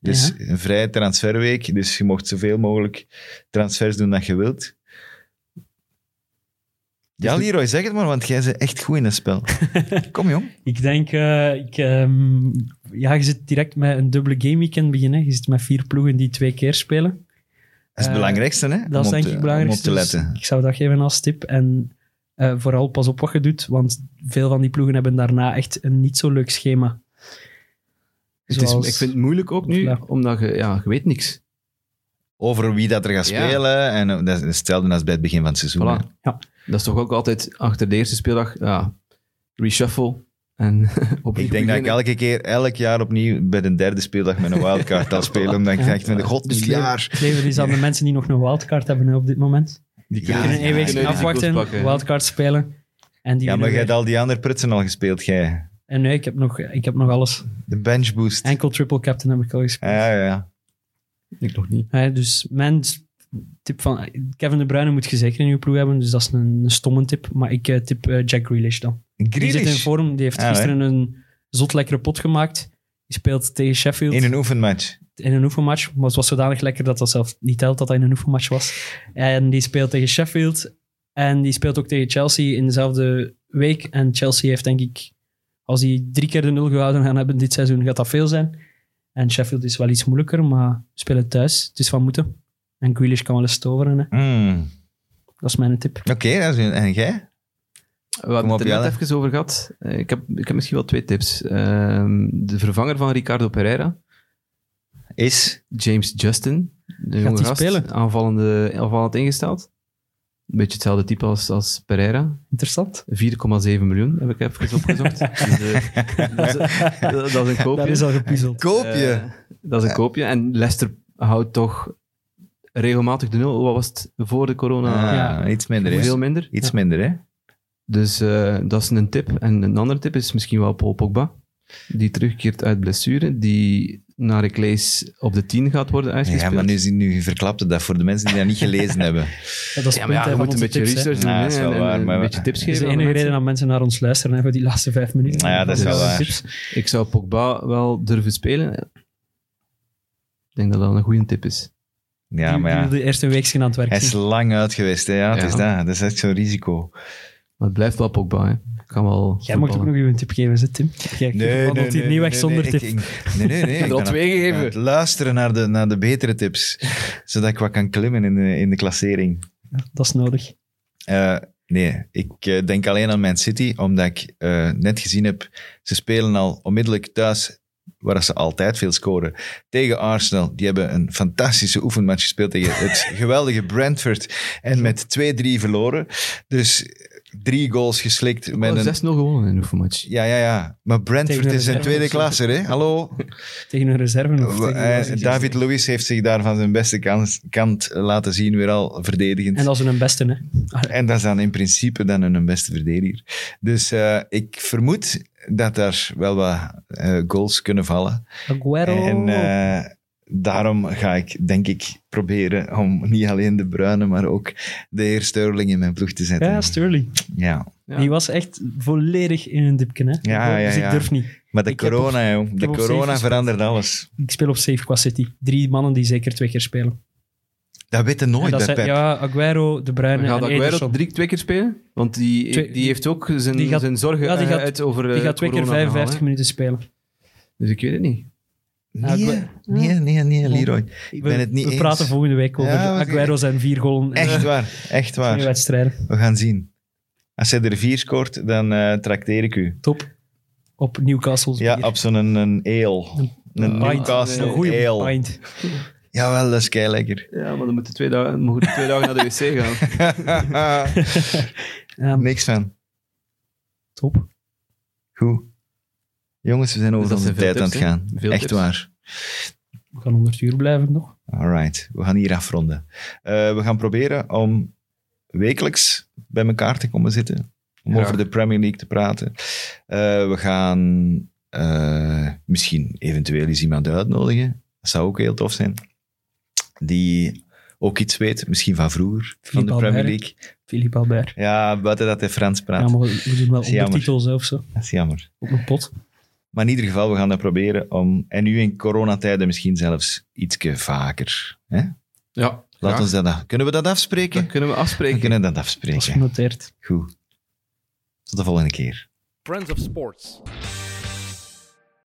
Speaker 3: Dus een vrije transferweek, dus je mocht zoveel mogelijk transfers doen dat je wilt.
Speaker 4: Dus
Speaker 3: Ja, Leroy, zeg het maar, want jij bent echt goed in het spel. Kom, jong.
Speaker 4: Ik denk, eh, ik, ehm, ja, je zit direct met een dubbele game weekend beginnen. hè. Je zit met vier ploegen die twee keer spelen.
Speaker 3: Dat is het
Speaker 4: Eh,
Speaker 3: belangrijkste, hè? om
Speaker 4: Dat is
Speaker 3: op
Speaker 4: denk
Speaker 3: te-
Speaker 4: ik dus- belangrijk.
Speaker 3: Om op te letten.
Speaker 4: ik zou dat geven als tip. En eh, vooral pas op wat je doet, want veel van die ploegen hebben daarna echt een niet zo leuk schema.
Speaker 5: Het is,
Speaker 4: Zoals-
Speaker 5: ik vind het moeilijk ook nu,
Speaker 4: Ja.
Speaker 5: omdat je, ja, je weet niks.
Speaker 3: Over wie dat er gaat
Speaker 5: Ja.
Speaker 3: spelen. En eh, dat is hetzelfde als bij het begin van het seizoen. hè.
Speaker 5: Voilà.
Speaker 4: Ja.
Speaker 5: Dat is toch ook altijd achter de eerste speeldag, ja, reshuffle en op
Speaker 3: Ik denk dat ik
Speaker 5: beginnen.
Speaker 3: elke keer, elk jaar opnieuw bij de derde speeldag met een wildcard al spelen. Omdat ik dacht, met de god,
Speaker 4: Dus
Speaker 3: dit
Speaker 4: het lever-
Speaker 3: jaar.
Speaker 4: het levert iets aan de mensen die nog een wildcard hebben hè, op dit moment.
Speaker 5: Die
Speaker 3: Ja,
Speaker 4: kunnen
Speaker 3: ja,
Speaker 4: één
Speaker 3: ja,
Speaker 4: week
Speaker 3: ja.
Speaker 4: afwachten, wildcard spelen. En
Speaker 3: Ja, maar
Speaker 4: die winnen
Speaker 3: jij
Speaker 4: weer.
Speaker 3: hebt al die andere prutsen al gespeeld, jij.
Speaker 4: En nee, ik heb, nog, ik heb nog alles.
Speaker 3: De bench boost.
Speaker 4: Enkel triple captain heb ik al gespeeld.
Speaker 3: Ah, ja, ja, ja.
Speaker 5: Ik nog niet.
Speaker 4: Hè, dus mijn tip van... Kevin De Bruyne moet je zeker in je ploeg hebben, dus dat is een, een stomme tip. Maar ik eh, tip eh, Jack Grealish dan. Die zit in
Speaker 3: Grealish
Speaker 4: vorm, die heeft
Speaker 3: Ah,
Speaker 4: gisteren een zot lekkere pot gemaakt. Die speelt tegen Sheffield
Speaker 3: in een oefenmatch.
Speaker 4: in een oefenmatch. Maar het was zodanig lekker dat dat zelf niet telt dat hij in een oefenmatch was. En die speelt tegen Sheffield. En die speelt ook tegen Chelsea in dezelfde week. En Chelsea heeft denk ik, als die drie keer de nul gehouden gaan hebben dit seizoen, gaat dat veel zijn. En Sheffield is wel iets moeilijker, maar spelen thuis. Het is van moeten. En Grealish kan wel eens toveren. Hè.
Speaker 3: Mm.
Speaker 4: Dat is mijn tip.
Speaker 3: Oké, dat is- en jij?
Speaker 5: We hadden
Speaker 3: op,
Speaker 5: het er net
Speaker 3: Jelle.
Speaker 5: even over gehad. Eh, Ik heb, ik heb misschien wel twee tips. Ehm, de vervanger van Ricardo Pereira,
Speaker 3: Is...
Speaker 5: James Justin. De jonge
Speaker 4: die
Speaker 5: gast,
Speaker 4: spelen?
Speaker 5: Aanvallende, aanvallend ingesteld. Een beetje hetzelfde type als, als Pereira.
Speaker 4: Interessant.
Speaker 5: 4,7 miljoen heb ik even opgezocht. Dus, eh, dat, is, dat is een koopje.
Speaker 4: Dat is al gepuzzeld.
Speaker 3: Koop
Speaker 5: Eh, dat is een koopje. En Leicester houdt toch regelmatig de nul. Wat was het voor de corona?
Speaker 3: Ah,
Speaker 4: ja.
Speaker 3: Iets minder, hè?
Speaker 5: Veel minder.
Speaker 3: Iets minder, hè?
Speaker 5: Dus eh, dat is een tip. En een andere tip is misschien wel Paul Pogba. Die terugkeert uit blessure. Die naar ik lees op de 10 gaat worden
Speaker 3: Ja,
Speaker 5: uitgespeeld.
Speaker 3: maar nu, nu verklapte dat voor de mensen die dat niet gelezen hebben.
Speaker 4: Ja, dat is
Speaker 5: Ja, maar
Speaker 4: het punt,
Speaker 5: ja,
Speaker 4: hè,
Speaker 5: je
Speaker 4: van
Speaker 5: moet een
Speaker 4: onze
Speaker 5: beetje
Speaker 4: tips, hè.
Speaker 5: research doen.
Speaker 3: Ja,
Speaker 5: hè,
Speaker 3: dat is wel
Speaker 5: en-
Speaker 3: waar,
Speaker 5: en
Speaker 3: maar-
Speaker 5: Een beetje tips
Speaker 4: Dat is
Speaker 5: geven.
Speaker 4: de
Speaker 5: aan
Speaker 4: enige
Speaker 5: mensen.
Speaker 4: reden dat mensen naar ons luisteren, hè, voor die laatste vijf minuten.
Speaker 3: Ja, dat is wel
Speaker 4: Dus,
Speaker 3: waar.
Speaker 4: tips.
Speaker 5: Ik zou Pogba wel durven spelen. Ik denk dat dat een goede tip is.
Speaker 3: Ja,
Speaker 4: Die-
Speaker 3: maar
Speaker 4: die
Speaker 3: ja.
Speaker 4: wilde eerst een weekje aan het werk
Speaker 3: Hij is
Speaker 4: zien.
Speaker 3: lang uit geweest, hè? Ja, het
Speaker 5: Ja.
Speaker 3: is dat. Dat is echt zo'n risico.
Speaker 5: Maar het blijft wel Pogba. Hè. Kan wel
Speaker 4: Jij mag ook nog een tip geven, zit Tim. Jij wandelt hier niet weg zonder
Speaker 3: nee,
Speaker 4: tip.
Speaker 3: ik- ik- nee, nee, nee.
Speaker 5: er al
Speaker 3: kan
Speaker 5: twee
Speaker 3: het-
Speaker 5: gegeven.
Speaker 3: kan het Luisteren naar de, naar de betere tips, zodat ik wat kan klimmen in de, in de klassering.
Speaker 4: Dat is nodig.
Speaker 3: Eh, nee, ik eh, denk alleen aan Man City, omdat ik eh, net gezien heb, ze spelen al onmiddellijk thuis, waar ze altijd veel scoren, tegen Arsenal. Die hebben een fantastische oefenmatch gespeeld tegen het geweldige Brentford en met 2-3 verloren. Dus drie goals geslikt
Speaker 5: Met
Speaker 3: met een...
Speaker 5: 6-0 gewonnen in de oefenmatch.
Speaker 3: Ja, ja, ja. Maar Brentford
Speaker 4: Tegen
Speaker 3: is een
Speaker 4: de
Speaker 3: tweede
Speaker 4: Brentford.
Speaker 3: klasser, hè? Hallo?
Speaker 4: Tegen een reserve of
Speaker 3: Eh,
Speaker 4: tegen een-
Speaker 3: David Lewis heeft zich daar van zijn beste kans- kant laten zien, weer al verdedigend.
Speaker 4: En dat is hun beste, hè.
Speaker 3: En dat is dan in principe dan hun beste verdediger. Dus eh, ik vermoed dat daar wel wat eh, goals kunnen vallen.
Speaker 4: Aguero.
Speaker 3: En eh, daarom ga ik, denk ik, proberen om niet alleen de Bruine, maar ook de heer Sterling in mijn ploeg te zetten.
Speaker 4: ja, Sterling.
Speaker 3: Ja.
Speaker 5: Ja.
Speaker 4: Die was echt volledig in een dipje, hè.
Speaker 3: Ja, ja,
Speaker 4: dus ik
Speaker 3: ja.
Speaker 4: durf niet.
Speaker 3: Maar de
Speaker 4: Ik heb
Speaker 3: corona, jong. De
Speaker 4: heb op zeven
Speaker 3: corona
Speaker 4: gespeeld.
Speaker 3: verandert alles.
Speaker 4: Ik speel op safe qua City. Drie mannen die zeker twee keer spelen.
Speaker 3: Dat weten
Speaker 4: En
Speaker 3: nooit,
Speaker 4: dat
Speaker 3: dat
Speaker 4: zijn,
Speaker 3: Pep.
Speaker 4: ja, Aguero, De Bruyne
Speaker 5: Gaat
Speaker 4: en
Speaker 5: Aguero
Speaker 4: Ederson.
Speaker 5: drie, twee keer spelen? Want die,
Speaker 4: Twee-
Speaker 5: die heeft ook zijn,
Speaker 4: die gaat-
Speaker 5: zijn zorgen
Speaker 4: ja, die
Speaker 5: eh,
Speaker 4: gaat-
Speaker 5: uit over
Speaker 4: Die
Speaker 5: eh,
Speaker 4: gaat twee keer
Speaker 5: corona-verhaal,
Speaker 4: 55
Speaker 5: hè.
Speaker 4: minuten spelen.
Speaker 5: Dus ik weet het niet.
Speaker 3: Nee,
Speaker 4: Ja,
Speaker 3: nee, nee, nee, Leroy.
Speaker 4: Ik
Speaker 3: ben het niet
Speaker 4: we
Speaker 3: eens.
Speaker 4: praten volgende week over
Speaker 3: Ja, we-
Speaker 4: Aguero zijn vier goals in
Speaker 3: Echt waar, echt
Speaker 4: twee
Speaker 3: waar.
Speaker 4: wedstrijden.
Speaker 3: We gaan zien. Als hij er vier scoort, dan eh trakteer ik u.
Speaker 4: Top. Op Newcastle's
Speaker 3: Ja,
Speaker 4: bier.
Speaker 3: op zo'n een, een ale. Een
Speaker 5: pint.
Speaker 3: Newcastle
Speaker 5: Een
Speaker 4: Goeie
Speaker 3: ale.
Speaker 4: pint.
Speaker 3: Jawel, dat is kei lekker.
Speaker 5: Ja, maar dan moeten twee dagen, moeten twee dagen naar de wc gaan.
Speaker 4: Ehm,
Speaker 3: Niks van.
Speaker 4: Top.
Speaker 3: Goed. Jongens, we zijn over
Speaker 5: Dus dat
Speaker 3: onze
Speaker 5: zijn
Speaker 3: tijd
Speaker 5: veel
Speaker 3: aan het
Speaker 5: tips,
Speaker 3: gaan.
Speaker 5: Veel
Speaker 3: Echt
Speaker 5: tips.
Speaker 3: waar.
Speaker 4: We gaan onder het uur blijven nog.
Speaker 3: Alright, we gaan hier afronden. Eh, we gaan proberen om wekelijks bij elkaar te komen zitten. Om
Speaker 5: Graag.
Speaker 3: over de Premier League te praten. Eh, we gaan eh, misschien eventueel eens iemand uitnodigen. Dat zou ook heel tof zijn. Die ook iets weet, misschien van vroeger, van
Speaker 4: Philippe
Speaker 3: de Premier
Speaker 4: Albert.
Speaker 3: League.
Speaker 4: Philippe Albert.
Speaker 3: Ja, buiten dat hij Frans praat.
Speaker 4: Ja, maar we we doen wel
Speaker 3: is jammer.
Speaker 4: ondertitels hè, of zo.
Speaker 3: Dat is jammer.
Speaker 4: Op een pot.
Speaker 3: Maar in ieder geval, we gaan dat proberen om... En nu in coronatijden misschien zelfs ietsje vaker. Hè?
Speaker 5: Ja,
Speaker 3: Laat
Speaker 5: graag.
Speaker 3: ons dat... af- Kunnen we dat afspreken?
Speaker 5: Dan kunnen we
Speaker 3: We
Speaker 5: afspreken.
Speaker 3: kunnen dat
Speaker 4: Dat is
Speaker 3: afspreken.
Speaker 4: genoteerd.
Speaker 3: Goed. Tot de volgende keer.
Speaker 2: Friends of sports.